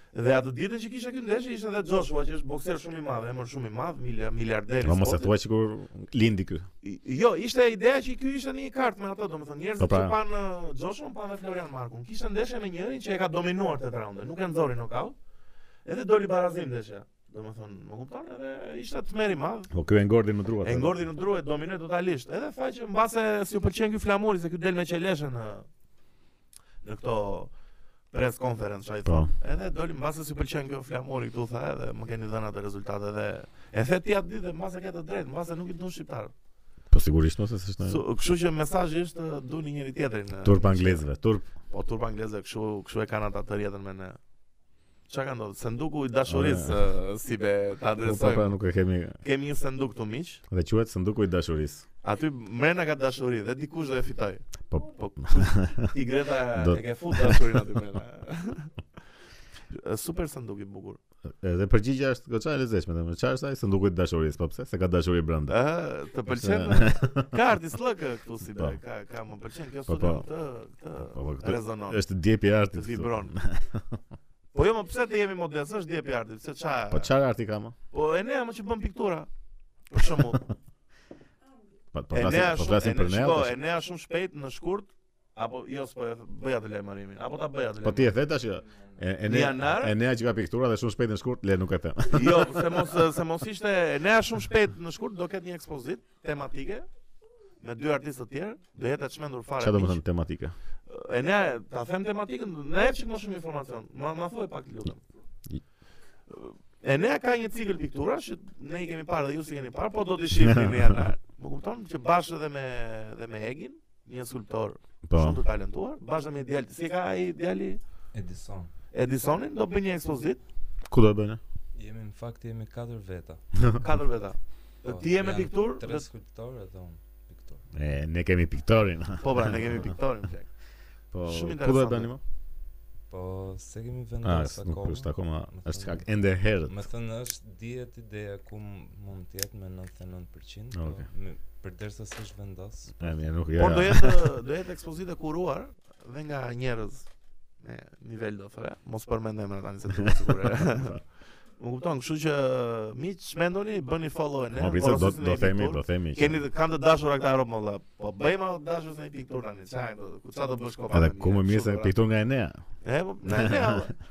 Dhe atë ditën që kisha këtë ndeshje ishte edhe Joshua që është bokser shumë i madh, emër shumë i madh, milja- miliarder. i
Po mos e
sportit.
thua që kur lindi ky.
I- Jo, ishte ideja që ky ishte në një kartë me ato, domethënë njerëzit
Po pra.
që pan uh, Joshua pan dhe Florian Markun. Kishte ndeshje me njërin që e ka dominuar tet raunde, nuk e nxori nokaut. Edhe doli barazim ndeshja. Domethënë, më kupton, edhe ishte tmerr i madh.
Po ky e ngordi në druat.
E ngordi në dru e dominoi totalisht. Edhe tha që mbase si u pëlqen ky flamuri se ky del me qeleshën në në këto press conference çaj
Po.
thon. Edhe doli mbase si u pëlqen kjo flamuri këtu tha edhe më keni dhënë atë rezultate dhe e the ti atë ditë dhe mbase ke të drejtë, mbase nuk i duan shqiptarët.
Po sigurisht ose s'është.
So,
në-
kështu që mesazhi është ë, duni njëri tjetrin. ë,
Turp anglezëve, turp.
Po turp anglezëve, kështu kështu e kanë ata të rjetën me ne. Çka ka ndodhur? Senduku i dashurisë ë, si be ta
Ah, Po po, pra
adresojmë.
nuk e kemi
Kemi një senduk këtu miq.
dhe quhet sanduku i dashurisë.
Aty mrena ka dashuri dhe dikush do e fitoj.
Po-
po ti Greta
Do-
e ke fut dashurinë aty mrena. Super sanduk i bukur.
Edhe përgjigjja është goxha e lezetshme, domethënë çfarë është ai sanduku i dashurisë, po pse? Se ka dashuri brenda.
Ë, të pëlqen ka artislëk këtu si
Po.
be, ka ka më pëlqen kjo
Po,
studio
po.
këtë
Po, po,
këtë
këtë-
rezonon.
Është djepi i artit.
Të
këtu.
vibron. Po jo, më pse të jemi modest, është djepi arti, pse qa...
Po çfarë arti ka më?
Po e nea më që bën piktura. Për shembull.
Po po
e nea
flasim, po
shumë,
flasim për ne.
shiko,
tash.
e nea shumë shpejt në shkurt apo jo s'po e bëj atë lajmërimin, apo ta bëj atë.
Po ti e the tash që e e ne
Në janar?
e nea që ka piktura dhe shumë shpejt në shkurt, le nuk e them.
Jo, se mos se mos ishte nea shumë shpejt në shkurt do ketë një ekspozit tematike me dy artistë të tjerë, do jetë e çmendur fare.
Çfarë do të
miq.
thënë tematike?
E nea, ta them tematikën, na jep çik më shumë informacion. Ma ma thuaj pak lutem.
I-
E nea ka një cikël pikturash që ne i kemi parë dhe ju si keni parë, po do t'i shihni në janar. Më kupton që bashkë edhe me dhe me Egin, një skulptor
Po.
shumë të talentuar, bashkë dhe me djalë, si ka ai djali
Edison.
Edisonin, do bëj një ekspozit,
Ku do e bëjnë?
Jemi në fakt jemi katër veta.
katër veta. Dhe Ti je me
janë
piktur,
Tre
dhe-
skulptorë dhe unë piktor.
E ne kemi piktorin.
po pra, ne kemi piktorin. plak.
Po.
Shumë
Ku do e
interesante.
bëni më?
Po se kemi
Ah,
vendosur
nuk
akoma.
është akoma,
Më
është
thënë-
kak ende herët.
Më thënë është dihet ideja ku m- mund të jetë me 99%,
Okej.
po me- përderisa s'është vendos.
E mirë, nuk ja.
Por do jetë do jetë ekspozitë kuruar dhe nga njerëz me nivel do thore, mos përmend emra tani se duhet sigurisht. Më kupton, kështu që miq, mendoni, bëni follow e ne.
Po prisa do
porositni
do
një
themi,
pikturë.
do themi. që-
Keni të kanë të dashur këta rob më valla. Po bëjmë atë dashur se një pikturë tani. Çfarë do? Ku çfarë do bësh kopa?
Edhe
me
ku më mirë se
kështu,
piktur nga Enea.
pra. E po, ne ne. valla.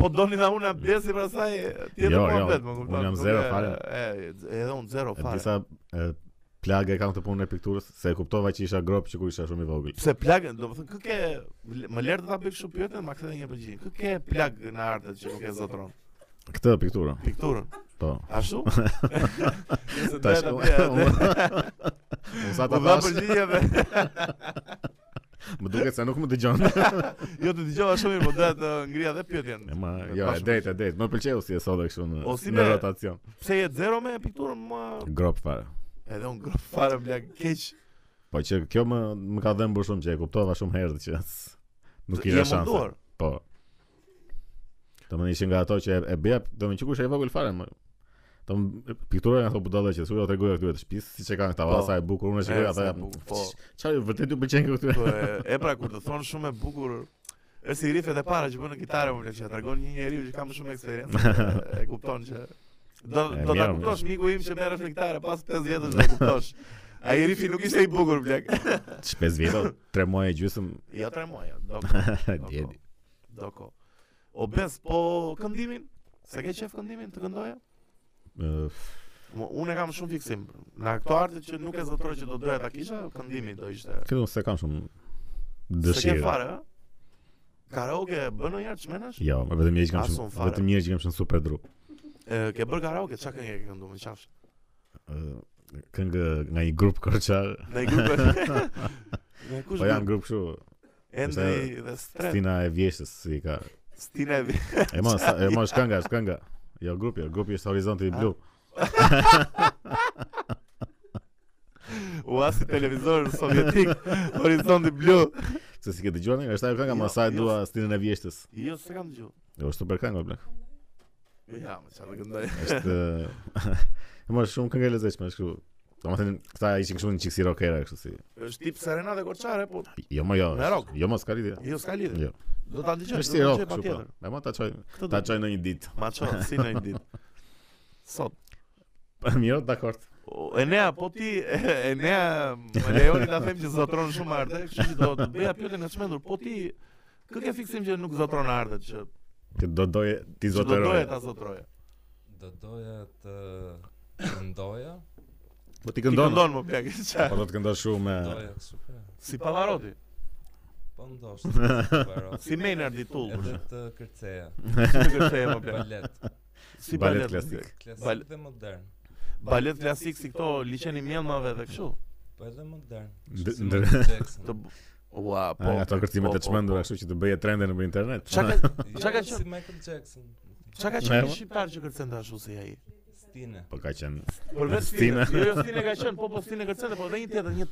Po doni dha unë abdesi për asaj tjetër
Jo,
po
jo,
abet, më kupton.
unë jam
Nuk
zero
e-
fare.
E, edhe unë zero
E
fare.
disa e, plagë e kam të punën e pikturës, se e kuptova që isha grop që kur isha shumë i vogël.
Pse plagën, do më thënë, kë ke, më lërë të ta bëj kështu pyetën, ma këtë një përgjigje. Kë ke plagë në artët që nuk e zotron?
Këtë pikturën,
Pikturën.
po.
Ashtu? Nëse
Tash
të
unë
bëja,
unë sa
U
ta
dha
thash,
përgjigje dhe
më duket se nuk më dëgjon.
jo të dëgjova shumë mirë, po doja të ngrija dhe pyetjen.
E, Ma, jo, e
Bashkë.
drejt, e drejt. Më pëlqeu si e sodhe kështu në,
O, si
në
me-
rotacion.
Pse je zero me pikturën, ma
Grop fare.
edhe unë grop fare blag keq.
Po që kjo më më ka dhënë bërë shumë që e kuptova shumë herë që s- nuk
Je
kisha shanse.
munduar.
Po. Do më ishin nga ato që e, e bëja, do më që kush e vogël fare më. Do më piktura nga ato budalla që thua tregoja këtyre të shtëpisë, siç e kanë këta
Po.
vasa e bukur, unë e shikoj
E,
ata.
sa bukur, po.
Çfarë ju vërtet ju pëlqen kjo këtyre?
Po e- e pra kur të thonë shumë e bukur është si rifet e para që bën në kitare më vjen që tregon një njeriu që ka më shumë eksperiencë e- e kupton që do
E,
do ta
mirë,
kuptosh miku im që merresh me kitare pas 5 vjetësh do e kuptosh
Ai rifi nuk ishte i bukur blek.
5 vjetë, 3 muaj e gjysmë,
Jo tre muaj, do po.
djedi.
do ko. Obes po këndimin? Se ke qef këndimin të këndoja?
Ë,
Mu- Unë e kam shumë fiksim. Nga këto artet që nuk e zotëroj që do doja ta kisha, këndimi do ishte.
Këtu se kam shumë
Se ke
dëshirë.
fare, ë? Karaoke e bën ndonjëherë çmenash?
Jo, vetëm njerëz që kam
Asun
shumë,
fare.
vetëm njerëz që kam shumë super dru.
E, Ke bër karaoke, çka këngë ke kënduar në qafsh?
Ë, Këngë nga një grup korçar,
Në grupe. Në kush?
po janë grup
grup?
kështu,
Endri dhe Stret.
Stina e Vjeshës si ka.
Stina e vi-
E mos, e mos kënga, është kënga. Jo grupi, jo grupi është Horizonti i Blu.
Ua si televizor sovjetik, horizonti blu.
Se si ke dëgjuar nga, është ajo kënga,
Jo,
më sa e
jo.
dua Stinën e Vjeshtës.
Jo, s'e kam dëgjuar.
Jo, është super kënga blek.
Ja, më çfarë këndoj.
Është e mos shumë këngë e lezetshme, është kështu. Domethënë, këta ishin kështu një çik si rockera kështu si.
Është tip Serenade Korçare, po
Jo, më jo.
Me
është-
rock.
Jo, mos ka lidhje.
jo s'ka lidhje.
Jo.
Do ta dëgjoj.
Është si
do ta
rock
dëgjoj
kështu. po.
patjetër.
E mos ta çoj,
Këtë
ta
do.
çoj në një ditë.
Ma çon si në një ditë. Sot.
Mirë, dakord.
O, Enea, po ti, Enea, më lejoni ta them që zotron shumë arde, kështu që do të bëja pyetjen e çmendur. Po ti, kë ke fiksim që nuk zotron ardet, që,
Që do doje ti
që do doje
zotëroje.
ta zotroje.
Do doja të këndoja,
Po ti
Ti
këndon.
këndon më plak,
Po
qa.
do të këndosh shumë eh, me
doja super.
Si Pavaroti,
Po ndoshta. si Pavarotti.
si Maynard i tull,
Edhe të kërceja,
si të kërceje më plak.
balet,
Si
balet
balet
klasik.
klasik.
klasik
Bal-
dhe modern.
Balet klasik si këto liçeni mjellmave dhe kështu.
Po edhe modern.
Ndë-
kështu si
ndër-
Michael Jackson.
Të bu- Ua, po.
Po, ato kërcimet
po,
e
po,
çmendura,
po.
kështu që të bëje trende në internet.
Çka ka
Jo,
Çka ka
si Michael Jackson.
çka ka
Ne,
qenë
po.
shqiptar që kërcente ashtu si ai?
Stine.
Po ka qenë.
Përveç
Stine.
Stine. Jo, jo, Stine ka qenë, po po Stine kërcente, po edhe një tjetër, një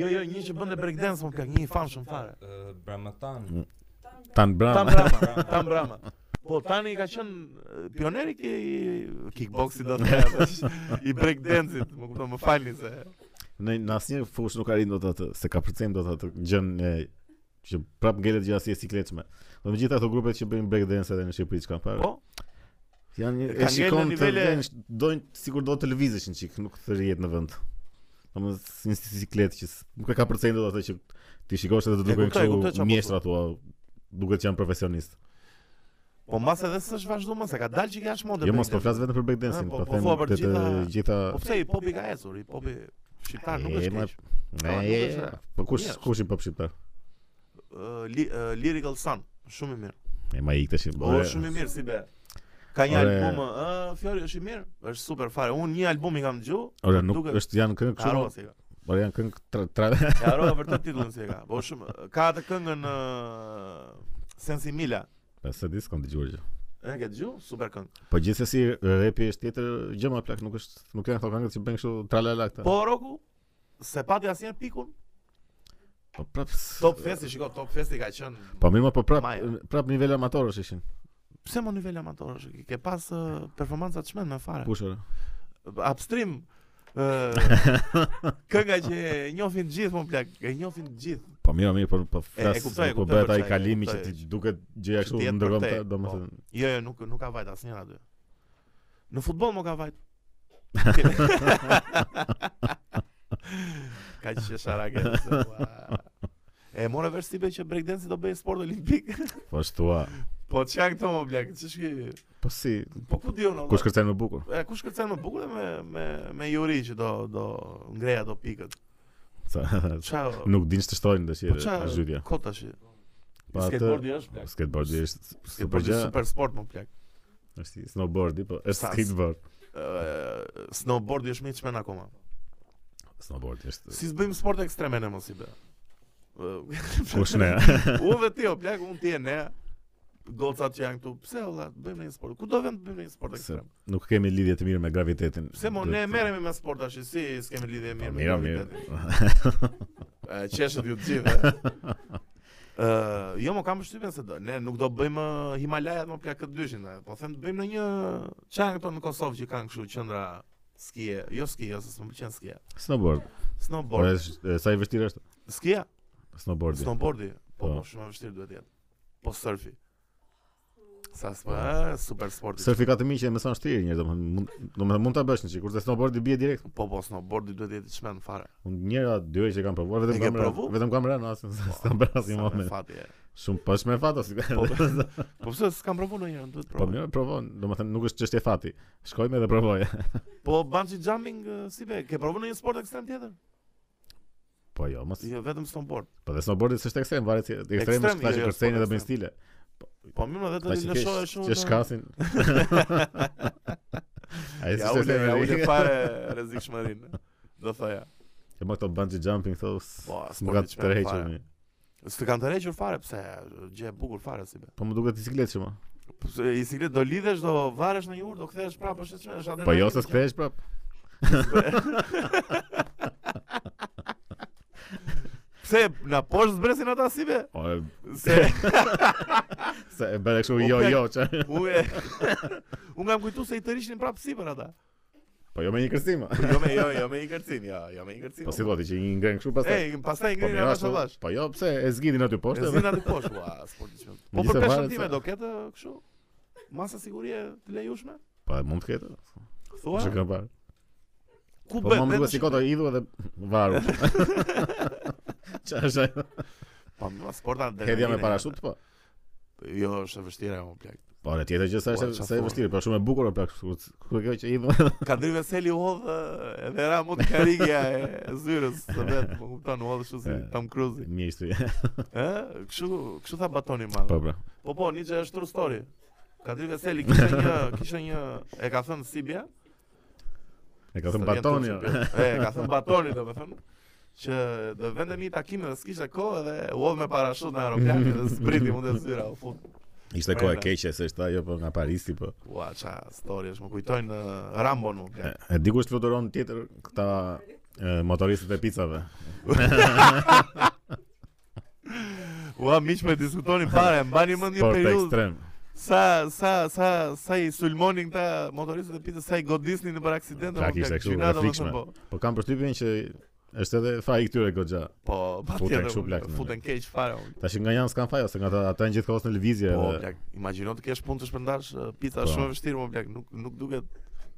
Jo, jo, një që bënte breakdance, më plak, një i famshëm fare.
Uh, Bramatan.
Tan
Tam
Brama.
Brama, Tam Brama. Po tani ka qenë e, pioneri ki kickboxit do të them, i breakdance-it, më kupton, më falni se.
Në në asnjë fushë nuk arrin dot atë, se ka përcem dot atë gjën e që prap ngelet gjë asnjë sikletshme. Do me gjitha ato grupet që bëjnë breakdance edhe në Shqipëri që kanë parë.
Po,
janë një, e
kanë ngelë
shikon
në
të
nivele-
vjen, dojnë sikur do të lëvizesh një çik, nuk të rrihet në vend. Domethënë si një siklet që s- nuk e ka përcen dot atë që ti shikosh edhe të
E
duken
kuptoj, kuptoj çfarë
kështu
po
mjeshtra tua, duket që janë profesionistë.
po mas edhe s'është vazhdu më, se ka dalë që ka është mode.
Jo mos po flas
breakdance.
vetëm për breakdance-in,
Ah, po,
po
po
them
thua
të
për
të
gjitha-
gjitha
Po pse i popi ka ecur, i popi shqiptar nuk
E,
është
ma-
keq.
Ne,
nuk është
e,
e-
po kush
mirë.
kush i pop shqiptar?
Ë, Eh, li, ë, Lyrical Sun, shumë i mirë.
E ma ikte shi.
O, shumë i mirë si be. Ka një
Ore.
album, ë, Fiori është i mirë, është super fare. Unë një album i kam dëgjuar,
Ora nuk
duket-
është janë këngë
e harrova
kështu,
si e ka.
por janë këngë tra, tra
E harrova vërtet titullin si e ka. Po shumë ka atë këngën ë, Sensi Mila.
Pa, Pra, se di s'kam dëgjuar gjë.
E ke dëgjuar? Super këngë.
Po gjithsesi rapi është tjetër gjë më plak, nuk është nuk janë ato këngët që bën kështu tralala këta.
Po Roku se pati asnjëherë pikun.
po prap s-
Top Festi, shiko, Top Festi ka qenë.
Po mirë, ma, po prap
Maja.
prap nivel amatorësh ishin.
Pse më nivel amator është? Ke pas ë, performanca të shmendme fare.
Pushora.
upstream ë kënga që e njohin të gjithë më plak, e njohin të gjithë.
Po mirë, mirë, po po flas.
e kuptoj, e
po
kuptoj
bëhet
për
ai
çfarë, e
kalimi që
kuptoj,
ti
që-
duket gjëja
që
kështu
ti jetë
ndërkohë,
për te,
ta- domethënë.
Jo, jo, nuk nuk ka vajt asnjëra aty. Në futboll më ka vajt. ka që sharake se, ua. E more vesh si be që breakdance do bëj sport olimpik
Po ashtua.
Po që janë këto më blek Që shki
Po si,
Po ku di unë
kush
valla?
kërcen më bukur?
E kush kërcen më bukur dhe me, me, me juri që do, do ngreja do pikët
Sa-
Qa
Po Nuk din të shtojnë dashi
Po qa-
zhytja.
Ko tash?
Po atë-
Skateboardi është plak.
Skateboardi është super
Skateboardi
gjë,
është super sport më plak.
është si snowboardi, po është
Sas.
skateboard.
Ë, snowboardi është më i çmen akoma.
Snowboardi është.
Si s'bëjmë sport ekstreme ne mos i bë. Ë,
Kush ne?
Unë dhe ti o plak, unë ti e ne. Gocat që janë këtu, pse olla, bëjmë një sport. Ku do vend bëjmë një sport
Se
ekstrem?
nuk kemi lidhje të mirë me gravitetin.
Pse mo ne merremi me sport tash, si s'kemë lidhje
Po
mirë me
mirë,
gravitetin.
mirë.
Ë, Qeshët ju të gjithë. Ë, jo më kam përshtypjen se do. Ne nuk do bëjmë ë, Himalajat më plak këtë dyshin, e, po them të bëjmë në një çan këto në Kosovë që kanë kështu qendra skije, jo skije, ose s'më pëlqen skija.
Snowboard. Po
Snowboard.
është- e, sa i vështirë është?
Skija,
Snowboardi.
snowboardi, po
Po.
po shumë e vështirë duhet të jetë. Po surfi. Sa s'pa, super sporti.
Sertifikat e miqe më son shtrirë njerëz, domethënë mund domethënë mund ta bësh një çik, kurse snowboardi bie direkt.
Po po, snowboardi duhet të jetë i çmend fare.
Unë njëra dy herë që kam provuar vetëm
E ke
kam rënë,
provu? Po,
vetëm kam rënë asën s'ta bëra asnjë
Sa me
moment.
Fati. e.
Shumë pas me fat ose.
Po, Po pse s'kam provu ndonjëherë, duhet
Po
provu.
mirë, provon, domethënë nuk është çështje fati. Shkojmë edhe provoje.
Po bungee jumping eh, si be, ke provu ndonjë sport ekstrem tjetër?
Po jo, mos.
Jo vetëm snowboard.
Po dhe snowboardi s'është ekstrem, varet si ekstrem
Ekstrem,
është kta
jo,
që
jo,
kërcejnë
s'po
edhe bëjnë
ekstrem.
stile.
Po mirë, më
Ka
vetë
që
në shohë
kesh,
shumë.
që shkasin. Ai
Ja
s'është
ule,
ekstrem.
ja ule
e
fare rrezikshmërinë. Do thoja.
E më këto bungee jumping thos.
Po,
Më ka të
sporti çmend
tërhequr
fare.
mi.
S'të kanë tërhequr fare, pse gjë e bukur fare si be.
Po më duket bicikletë shumë.
Po se i siglet do lidhesh, do varesh në një urë, do kthehesh prapë, është çfarë është
Po jo
adrenalin,
se s'kthehesh prap.
Pse na poshtë zbresin ata si be?
O, e-
Se
se e bëre kështu
Po,
jo
plak.
jo çfarë.
unë unë kam kujtu se i tërishin prapë si për ata.
Po jo me një kërcim. a.
Jo me jo, jo me i kërcin, jo, jo me i kërcin.
Po si thoti që i ngren kështu pastaj.
Ej, pastaj
Po
ngrihen
mirë
ata
ashtu.
sa bash.
Po jo pse e zgjidhin aty
E
poshtë.
zina të kosh, ua, sporti që. Po
Megjithëse
për peshën
varet
time
se-
do ketë kështu masa sigurie të lejushme?
Po mund të ketë.
Thua?
Çka ka parë.
Ku
Po
bëhet?
më
vetëm
duhet sikot i idhu edhe varu. Çfarë është ajo?
Po më sporta dhe.
Hedhja me parashut po.
Jo, është e vështirë ajo plak.
Po ne tjetër që sa
Po,
është
çfarë
sa e
thua?
vështirë, po shumë e bukur apo ku kjo që idhu.
Kadri Veseli u hodh eh, edhe era mot karigja e zyrës të vet, më kupton, u hodh kështu si
E.
Tom Cruise.
Mjesht.
Ë, kështu, kështu tha Batoni madh.
Po pra.
Po po, Nietzsche është true story. Kadri Veseli kishte një, kishte një, e ka thënë Sibia.
E ka thënë batoni. jo.
s'të vjen turp, E, e Eh, ka thënë Batoni domethënë që do vende një takim dhe s'kishte kohë dhe u hodh me parashut në aeroplan dhe zbriti mund të zyra u fut.
Ishte kohë e keqe se është ajo po nga Parisi po.
Ua, ça story është, më kujtojnë eh, Rambo nuk.
E, e dikush fluturon tjetër këta e, motoristët e picave.
Ua, miq po e diskutonin fare, mbani mend një
Sport
periudhë
ekstrem.
Sa sa sa sa i sulmonin këta motoristët e pitës, sa i godisnin në për aksidente,
Pra,
mo,
kishte
plak,
kështu,
gjyna,
reflikshme.
domethënë, Po,
Po kam përshtypjen që është edhe faji këtyre goxha.
po
Futen
patjetër.
kështu, plak,
mo,
në-
Futen keq fare. mo.
Tash nga janë s'kan faj ose nga ata ata janë gjithkohës në lëvizje
Po,
edhe
plak, imagjino të kesh punë të shpërndash eh, pica
Po.
është shumë e vështirë, më plak, nuk nuk duket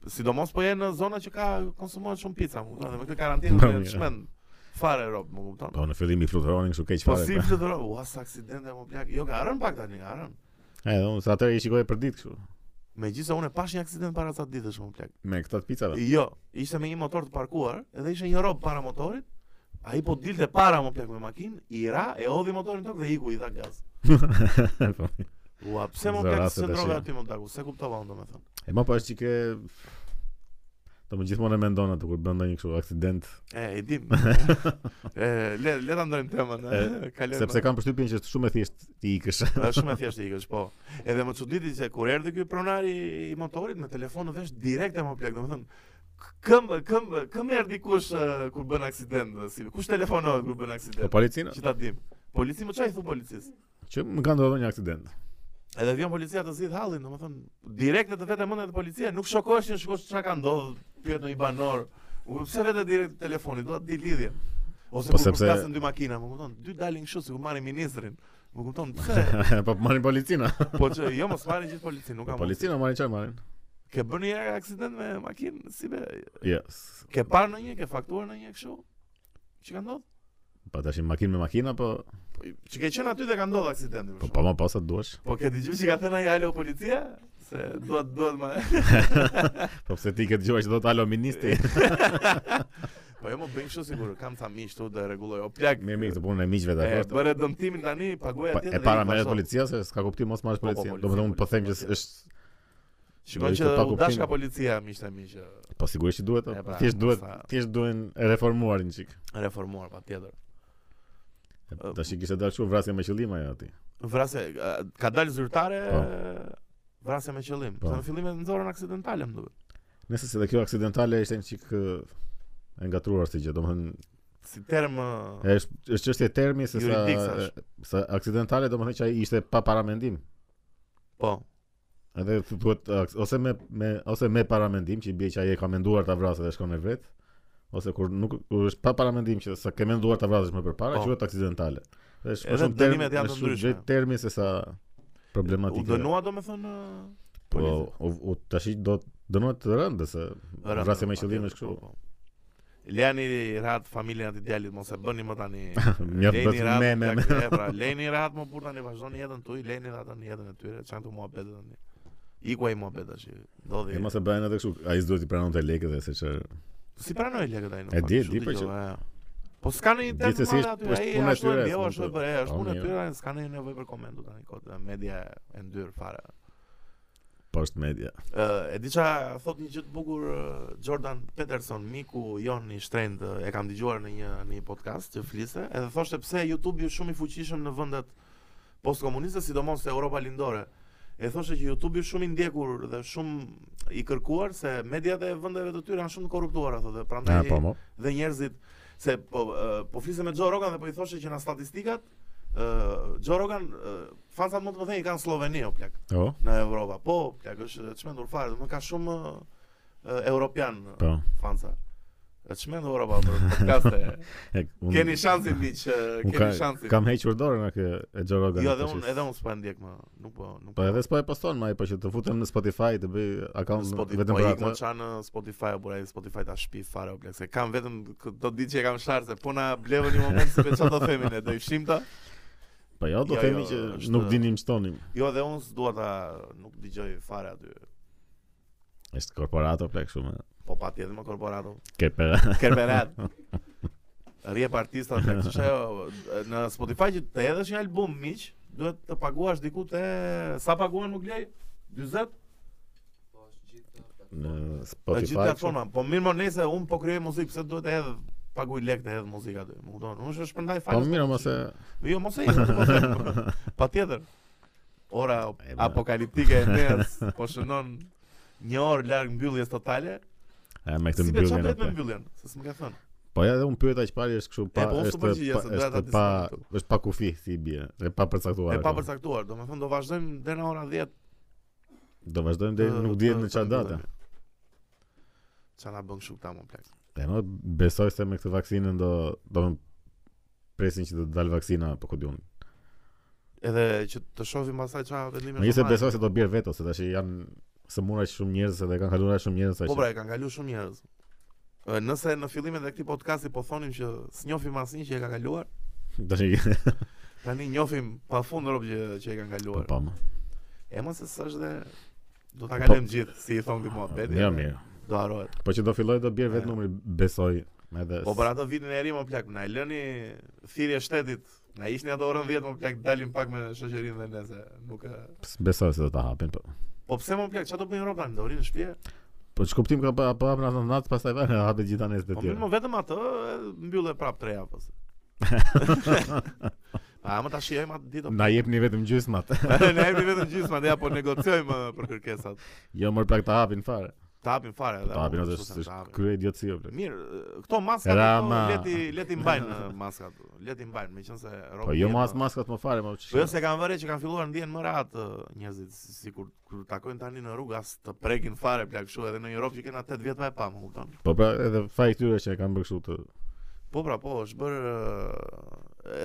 sidomos po jenë në zona që ka konsumohet shumë pica, më kupton, dhe me këtë karantinë
Po,
do
mirë.
të shmend fare rob, më kupton.
po në fillim i fluturonin kështu keq
Po
fare.
si të thorë, ua, sa aksidente, më plak. Jo, ka rënë pak tani, ka rënë.
E, unë sa atëherë i shikoj për ditë kështu
Megjithëse unë e pash një aksident para sa ditësh, më plak.
me këta të picave.
Jo, ishte me një motor të parkuar, edhe ishte një rob para motorit. Ai po dilte para më plak me makinë, i ra, e hodhi motorin tokë dhe iku i dha gaz.
Po, mirë.
Ua, pse më
Zë
plak
raste
se
tash,
droga
ja.
aty më taku, se kuptova unë domethënë.
e më po është çike Do më gjithmonë e mendon atë kur bën ndonjë kështu aksident,
E, e dim. e, le le ta ndrojmë temën, e, kalojmë.
sepse kam përshtypjen që është shumë e thjesht ti ikësh.
është shumë e thjeshtë ikësh, po. Edhe më çuditi se kur erdhi ky pronari i motorit me telefon në vesh direkte më plak, domethënë k- këmbë këmbë këmbë erdhi kush eh, kur bën aksident, si kush telefonohet kur bën
Po
aksident.
policinë,
Që ta dim. Polici më çai thu policisë.
që më ka ndodhur një aksident.
Edhe vjen policia të zgjidh hallin, domethënë direkt në të vetë mendet policia, nuk shokohesh që shikosh çka ka ndodhur, pyet në një banor. U pse vetë direkt telefonit, do të di lidhjen. Ose
Po
po sepse
sepse-
kasin dy makina, më kupton, dy dalin kështu sikur marrin ministrin. Më kupton pse?
po marrin policinë.
po që jo mos marrin gjithë policin, nuk
Po
ka. mundësi.
policinë marrin çfarë marrin?
Ke bërë një herë aksident me makinë, si be?
Yes.
Ke parë në një, ke faktuar në një kështu? Çi ka ndodhur?
Po tash makinë me makina, po
Po, Që ke qenë aty dhe ka ndodhur aksidenti. për
po pa
shembull.
më pas sa duash.
Po ke dëgjuar që ka thënë ai alo policia? Se duhet duhet më.
Po pse ti ke dëgjuar që do të alo ministri?
Po jo më bëjmë kështu sigur, kam ca miq këtu do e rregulloj. O plak.
Mirë, mirë, këtë punën e miqve
E
dakord.
bëre dëmtimin tani, pagoja
Po,
tjetër.
E
dhe
para
i
merret
vazhdo.
policia se s'ka kuptim mos marrësh
Po, po,
policinë.
policia,
Domethënë po them që
policia.
është
Shikon
Ishte
që
pa
u
kuptim.
dash ka policia miq të miq.
po sigurisht që duhet,
E, pra,
thjesht duhet,
sa-
thjesht duhen e reformuar një çik.
Reformuar patjetër.
E, Tash i kishte dalë kështu vrasje me qëllim ajo aty.
Vrasja a, ka dalë zyrtare
Po.
vrasja me qëllim.
Po.
Po. Në fillim e nxorën aksidentale më duket.
Nëse se dhe kjo aksidentale ishte një çik ë, e ngatruar si gjë, domethënë
Si term ë,
është është çështje termi se sa
Juridik, thash.
sa aksidentale domethënë që ai ishte pa paramendim.
po.
Edhe thu- thuhet aks- ose me me ose me paramendim që i bie që ai e ka menduar ta vrasë dhe shkon në vret, ose kur nuk kur është pa paramendim që sa ke menduar ta vrasësh më përpara,
Po.
quhet aksidentale. Dhe është më
Edhe
shumë term,
dënimet janë të
është shumë
ndryshme.
drejt termi se sa
U
problematike.
dënua domethënë
Po, u, u tash do të dënohet të rëndë se
Po,
vrasja me qëllim është kështu.
Lejani Po, rahat familjen atë djalit mos e bëni më tani.
Mjaft
Lejni
bëhet
rahat
me
me
me me.
pra, lejni rahat më burr tani vazhdoni jetën tuaj, lejni rahat tani jetën e tyre, çan tu muhabet tani. Ikuaj muhabet tash. Ndodhi.
E mos e bëjnë atë kështu, ai s'duhet i pranonte lekët dhe se çfarë.
Si pranoi lekët ai?
E di, di, po
po
që-
Po s'ka në
Di
internet
se si
si
është-
aty,
është
ai
puna e
ashtu e
tyre,
ndjeu,
s'mund
ashtu e
të-
bëre,
Po,
është punë e
mirë.
tyre, s'ka ndonjë nevojë për komentu tani, kod media e ndyr fare.
Post media.
Ë, e di qa thot një gjë të bukur ë, Jordan Peterson, miku jon i shtrenjtë, ë, e kam dëgjuar në një në një podcast që fliste, edhe thoshte pse YouTube ju shumë i fuqishëm në vendet postkomuniste, sidomos në Europa lindore. E thoshte që YouTube ju shumë i ndjekur dhe shumë i kërkuar se mediat e vendeve të tyre janë shumë të korruptuara, thotë. Prandaj
Ah, po mo.
dhe njerëzit se po e, po flisëm me Joe Rogan dhe po i thoshe që në statistikat ë Joe Rogan ë, fansat më të mëdhenj i kanë Sloveni o plak
Po.
në Evropa. Po, plak është e çmendur fare, do ka shumë ë, europian
Po.
fansa. E çmendur Europa po, për podcaste.
E, unë-
keni shansin miq, ë,
unë
keni
ka-
shansin.
Kam hequr dorën nga kjo e Joe Rogan.
Jo, edhe unë edhe unë s'pa ndjek më, nuk po, nuk
Po edhe s'po e poston më ai, po që të futem në Spotify të bëj account në-
Spotify,
vetëm
vetëm
për
Po
atë.
çan Spotify apo ai Spotify ta shpi fare o plak se kam vetëm kë- do të ditë që e kam sharë se po na blevën një moment se çfarë do themi ne, do i fshim ta.
Po jo, do
Jo,
themi
jo,
që
është-
nuk dinim çtonim.
Jo, dhe unë s'dua ta nuk dëgjoj fare aty.
Është korporato plak shumë.
Po patjetër më korporato.
Ke pera.
Kerberat. Rje partista të që ajo, në Spotify që të hedhësh një album miq, duhet të paguash diku te sa paguan më glej? 40
në
në gjithë
Spotify. kështu.
platforma. Po mirë më nëse un po krijoj muzikë, pse duhet të hedh paguaj lek të hedh muzikë aty? Më kupton? Unë është shpërndaj
Po
fajin.
mirë, mos e
Jo, mos e jep. Patjetër. Ora
E, ma-
apokaliptike e mes po shënon një orë larg mbylljes totale.
e me
Si
këtë
be çfarë
mbylljen. e
bëhet me
plak.
mbylljen? Se s'më ka thënë.
Po ja, edhe unë pyeta që pari është kështu pa
po, unë
është pa,
s'përgjigja, se doja ta
është pa
diskutoj këtu.
është pa kufi si bie, Po, e pa përcaktuar.
E pa përcaktuar, domethënë do vazhdojmë deri në orën 10
Do vazhdojmë deri nuk dihet në çfarë datë.
Qa na bën kështu këta më plak.
E më besoj se me këtë vaksinën do do më presin që do të dalë vaksina apo ku diun.
Edhe që të shohim pastaj qa vendime
Megjithëse
marrin.
besoj se do bjerë veto se tash janë se mura që shumë njerëz edhe kanë kaluar shumë njerëz tash.
Po pra, e kanë kalu shumë njerëz. Ë, Nëse në fillimet e këtij podcasti po thonim që s'njohim asnjë që e ka kaluar,
Tash
tani njohim pafund rob që, që e kanë
po
kaluar.
po. më.
E mos se s'është dhe do ta kalojmë gjithë si i thon ti muhabeti.
Mirë, mirë.
Do harohet.
Po që do filloj do bjerë vetë
E.
numri besoj edhe
Po për ato vitin e ri më plak, na e lëni thirrje shtetit. Na ishni ato orën 10 më plak, dalim pak me shoqërinë dhe nese. Nuk e...
s- besoj se do ta hapin. Po,
Po pse më plak, çfarë do bëjnë rob tani? Do rinë në shtëpi?
po çkuptim ka pa pa hapën atë natë pastaj vjen hapet gjithë anës të
Po mirë,
tjera.
më vetëm atë e, mbyllë e prapë treja pas. A më ta shijojmë atë ditë.
Na jepni vetëm gjysmat.
Ne jemi vetëm gjysmë, ne apo negociojmë e, për kërkesat.
Jo më plak ta hapin fare.
Ta hapim fare edhe.
Po hapin
apo,
atë
kështu se ta
është
hapim.
krye idiotësi o plak.
Mirë, e, këto maskat këto
Rama.
leti leti mbajnë e, maskat. Leti mbajnë, meqense
Po jo mas maskat më fare, më
Po jo
ç'është.
se kanë vënë që kanë filluar ndjen më rahat e, njerëzit si- si kur kur takojnë tani në rrugë as të prekin fare plak kështu edhe në Europë që kanë 8 vjet më e pa, më kupton.
Po pra edhe faj këtyre që e kanë bërë kështu të
Po pra, po, është bërë ë,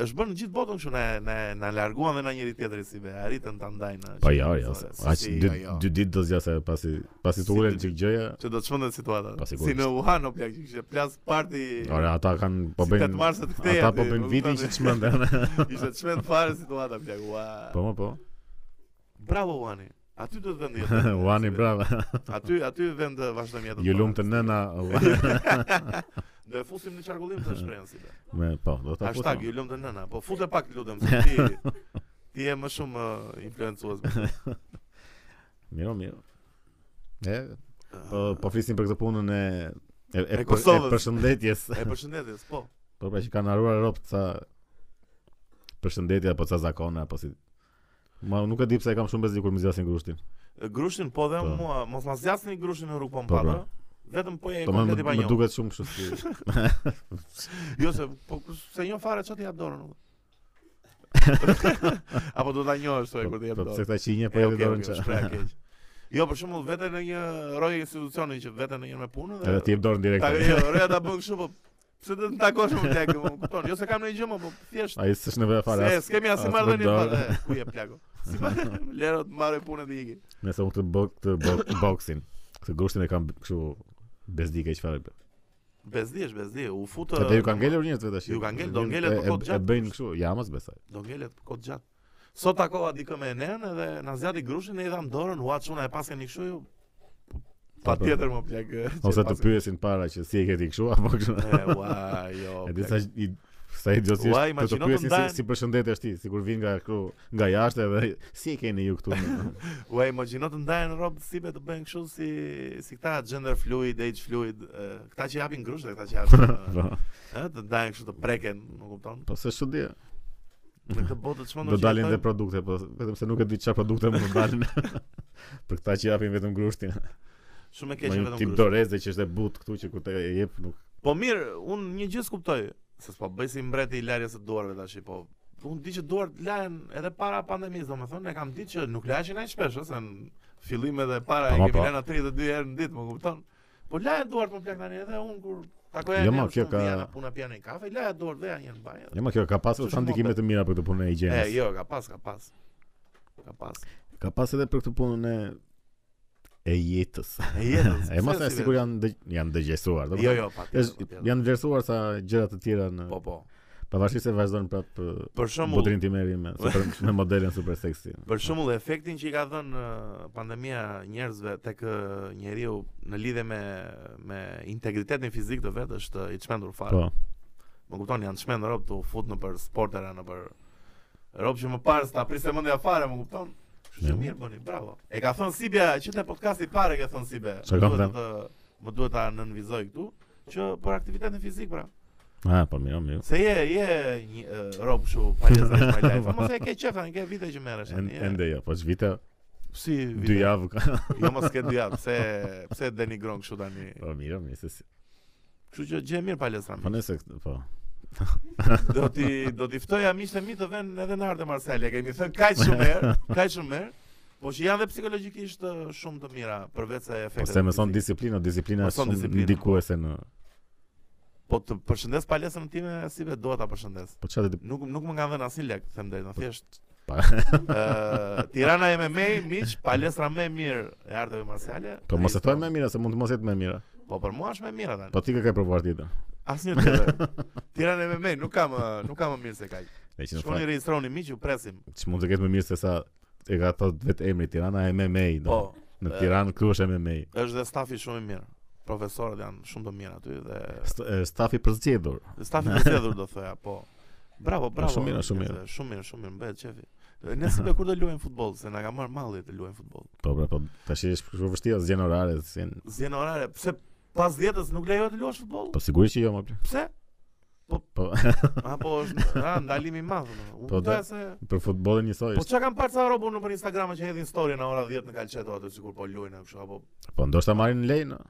është bërë në gjithë botën kështu na na na larguan dhe na njëri tjetrin si be, arritën ta ndajnë.
Po jo, jo. se-
Si,
Aq
si,
dy
jo, jo.
dy ditë do zgjasë pasi pasi të
Si
ulën
dy
çik gjëja.
Që do të shmëndet situata.
Po, sigurisht.
Si në Wuhan, o plak, që kishte plas parti.
Ora ata kanë po
si
bëjnë
8 marset këtej
ata
aty,
po bëjnë
nuk
vitin që
kupton?
çmenden.
Ishte çmend fare situata plak. Ua.
Po më po.
Bravo Wuhani. Aty do të vendi.
Uani
Si be.
brava.
Aty aty vend të vazhdojmë jetën.
Ju
tonë.
lumt të nëna. ua.
Do e fusim në qarkullim të shprehjes. si be.
Me po, do ta
Hashtag
fusim.
ju lumt të nëna. Po fute pak lutem se ti ti je më shumë ë, influencues.
Miro, miro. E po po flisim për këtë punën e e, e,
E
për, e
Kosovës.
përshëndetjes.
E përshëndetjes, po.
Po pra që kanë haruar rop ca përshëndetje apo ca zakone apo po, si Ma nuk e di pse e kam shumë bezdi kur më zgjasin grushtin.
Grushtin po dhe
Po.
mua, mos ma zjasni grushtin në rrugë
Po,
po mpata. Vetëm po e
Po më,
komplet i
më, më
banjo.
duket shumë kështu si
Jo se po ku- se një fare çati ja dorën. unë. Apo do ta njohësh thoj kur të jap
Po pse
dorën.
këta qinje po
E,
edhe
okay,
dorën
okay,
çfarë.
shpreha keq. Jo, për shembull, vete në një roj institucioni që vete në një me punë
Edhe ti
dhe
jep dorën direkt.
ta jo, roja ta bën kështu po pse do të takosh më plak, më kupton? Jo se kam ndonjë gjë më, po thjesht
Ai s'është nevojë fare.
se
as-
s'kemi
as
asnjë
për
marrëdhënie
dorë.
fare. e, Ku je plaku?
Si pa lero të marrë punën dhe iki.
Nëse unë këtë bo, këtë bo, boxin, këtë grushtin e kam kështu bezdike çfarë.
Po, Bezdi është bezdi, u futë.
Edhe ju kanë ngelur njerëz vetë tash.
Ju kanë ngelur, do
E-
ngelet për
e-
kohë të gjatë.
E bëjnë kështu, jamës besoj.
Do ngelet kot gjatë. Sot takova dikë me Enen edhe na zgjati grushin e i dham dorën, ua çuna e paske një kështu ju.
Po,
Pa
po.
tjetër më plak. e, që
Ose të
pasi-
pyesin para që si e ke ti kështu apo kështu.
eh, E ua, jo.
E di
plak.
sa i sa i gjosë
Ua,
të të
imagjino të
pyesin si,
ndahen-
si përshëndetje është ti, sikur vin nga kru, nga jashtë edhe si e keni ju këtu.
Ua, imagjino të ndahen robë sibe të bëjnë kështu si si këta gender fluid, age fluid, e, këta që japin grush dhe këta që japin.
po,
Ë, të ndahen kështu të preken, nuk kupton?
po se çudi.
Në këtë botë të çmendur.
Do dalin dhe produkte, po vetëm se nuk e di çfarë produkte mund të dalin. Për këta që japin vetëm grushtin.
Shumë e
Ma
keqe
një
vetëm
tip
grush.
doreze që është e but këtu që kur te e jep nuk
Po mirë, unë një gjë s'kuptoj, se s'po bëj si mbreti i larjes së duarve tash, po unë di që duart lahen edhe para pandemisë, domethënë e kam ditë që nuk laheshin aq shpesh, ëh, se në fillim edhe para
Po,
e
ma,
kemi
po.
lënë 32 herë në ditë, më kupton? Po lahen duart më plak tani edhe unë kur takoj
Jo, ma, kjo ka-
Vija, puna pija një kafe, lahen duart dhe janë në banjë. edhe-
Jo, ma kjo ka pasur
Ç'është
sa ndikime
mohabet?
të mira për këtë punën e
E,
higjienës.
jo, ka pas, ka pas. Ka pas.
Ka pas edhe për këtë punën e e jetës.
E jetës.
E mos e sigur janë dëg- janë dëgjesuar. do
Jo,
më
jo, pa
thënë, është-
tjetër.
janë vlerësuar sa gjëra të tjera në
Po, po.
pavarësisht se vazhdojnë prap eh,
Për shembull,
botrin timeri me super, me modelin super seksi.
Për shembull, efektin që i ka dhënë ë, pandemia njerëzve tek ë, njeriu në lidhje me me integritetin fizik të vet është i çmendur fare.
Po.
Më kupton, janë çmendur rob të fut në për sportera, në për rob që më parë s'ta priste mendja fare, më kupton? Kështu që
Jo.
mirë bëni, bravo. E ka thënë Sibia që te podcasti parë e ka thënë Sibia.
Çfarë
Më
ka
duhet
thënë?
të më duhet ta nënvizoj këtu që për aktivitetin fizik pra.
Ah, po mirë, mirë.
Se je je një ë, rob kështu palestra my life. Mos e ke qef tani, ke vite që merresh.
En-
tani, je.
Ende jo, po çvita
Si
dy
vite?
javë ka.
Jo mos ke dy javë, pse pse e denigron kështu tani.
Po mirë, mirë se si.
Kështu që gjë e mirë palestra.
Po
mi.
nëse po.
Do ti do ti ftoja miqtë e mi të vënë edhe në Arte Marsale. e Kemi thënë kaq shumë herë, kaq shumë herë, po që janë dhe psikologjikisht ë, shumë të mira përveç se
Po
efektet.
se më son
fizike.
disiplinë, disiplina
Mëson
është shumë
disiplinë.
ndikuese në
Po të përshëndes palestrën time si be dua ta përshëndes.
po çfarë di-
Nuk nuk më kanë dhënë asnjë lek, them drejtë, thjesht
Pa.
Ë, Tirana e MMA, miq, palestra më e mirë e arteve marciale.
Po mos e thoj më mira se mund të mos jetë më mira.
Po për mua është më e mira tani.
Po ti ke ke provuar tjetër.
Asnjë tjetër. Tirana e MMA nuk ka më nuk ka më mirë se kaq.
Ne që në
Shkoni regjistroni miq, ju presim.
që mund të ketë më mirë se sa e ka thot vetë emri Tirana MMA, do.
Po,
në
e-
Tiranë këtu është MMA.
është dhe stafi shumë i mirë. Profesorët janë shumë të mirë aty dhe
St- e, Stafi për zgjedhur.
stafi i zgjedhur do thoja, po. Bravo, bravo.
shumë mirë, shumë mirë.
njerëzve, Shumë mirë, shumë mirë, bëhet çefi. Ne si be kur do luajmë futboll, se na ka marr malli të luajmë futboll.
Po, pra, po, tash është shumë vështirë zgjen orare, sin.
Zjen orare, pse pas 10-s nuk lejohet të luash futboll?
Po sigurisht që jo më. plak.
Pse?
Po
Apo është a, ndalim i madh. domethënë. Unë
Po,
doja
da-
se
për futbollin njësoj.
Po
është.
çka kanë parë ca robu në për Instagram që hedhin story në ora 10 në Calceto aty sikur po luajnë kështu apo
Po ndoshta marrin lejnë.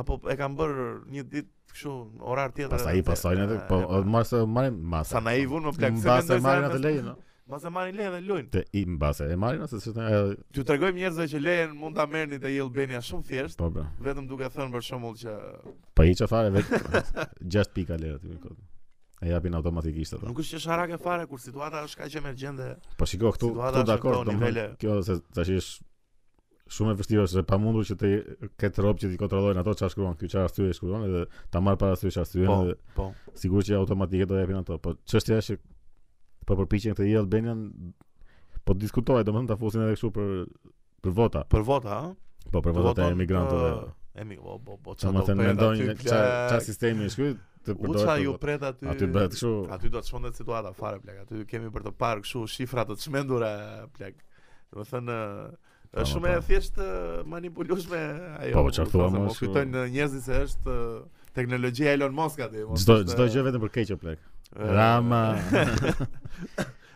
apo e kanë bërë një ditë kështu orar tjetër.
Pastaj
edhe-
pasojnë edhe
e,
po
e, po.
mos marrin masa.
Sa naiv unë më plak, se
Mbase
mendoj se
marrin
janë
atë
mes-
lejnë.
Mos e marrin lehen dhe lojnë.
Te i mbase e marrin ose s'është e,
T'ju tregojmë njerëzve që lehen mund ta merrni te Albania shumë thjesht,
po bra.
vetëm duke thënë për shembull që
Po i çfarë vetë 6 pika lera aty kod. E japin automatikisht ato.
nuk është që sharake fare kur situata është kaq emergjente.
Po shiko këtu,
Situata
këtu
është
dakord,
këto
domethënë
nivele.
kjo se tash është shumë e vështirë është e pamundur që të ketë rob që ti kontrollojnë ato çfarë shkruan, ky çfarë arsye shkruan edhe ta marr para sy çfarë arsye
Po,
edhe
po.
sigurisht që automatike do japin ato, po çështja është që po përpiqen këtë i Albanian po diskutohet domethënë ta fusin edhe kështu për për vota,
Për vota, ëh.
po për votat e emigrantëve.
Emi, po, po, po,
Që më
çfarë do
thënë
pret aty,
mendojnë
plak.
çfarë çfarë sistemi është ky të
U qa ju
përdoret.
pret aty.
për- Aty bëhet kështu.
Aty do të shkondet situata fare plak. Aty kemi për të parë kështu shifra të çmendura plak. Do të thënë
Po,
është
po.
shumë e thjesht e, manipulueshme ajo.
Po, po, çfarë thua,
më
mos-
kujtojnë njerëzit se është e, teknologjia e Elon Musk aty. mos
Çdo
është,
çdo
e,
gjë vetëm për keqë plak.
e,
Rama.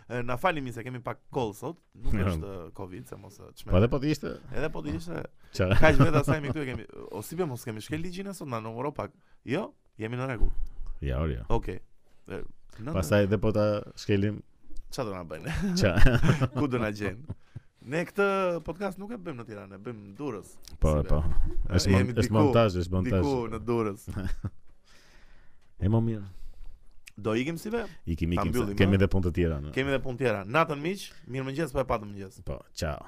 E, Na falni mi se kemi pak koll sot, nuk
Jo.
është e, Covid se mos e
Po edhe
çmend.
po të ishte
Edhe po të ishte
çfarë?
kaq vetë asaj mi këtu e kemi. O si be mos kemi shkel ligjin e sot na numëro pak. Jo, jemi në rregull.
Ja, ora.
Okej. Okay.
Pastaj edhe po ta shkelim
çfarë do na bëjnë?
ça.
Ku do na gjejnë? Ne këtë podcast nuk e bëjmë në Tiranë, e bëjmë në Durrës.
Po,
Si
po.
be.
Është
E,
mon-
jemi
është
diku-
montazh, është montazh.
Diku në Durrës.
E më mirë.
Do ikim si ve?
Ikim,
Ta
ikim. se
mbyllim,
Kemi
a?
edhe punë të tjera. në-
Kemi edhe punë tjera. Natën miq, mirëmëngjes po e patëm mëngjes.
Po, ciao.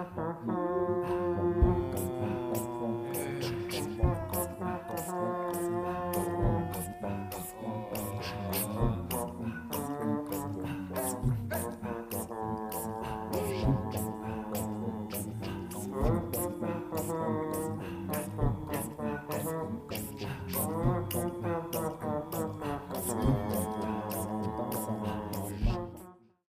Thank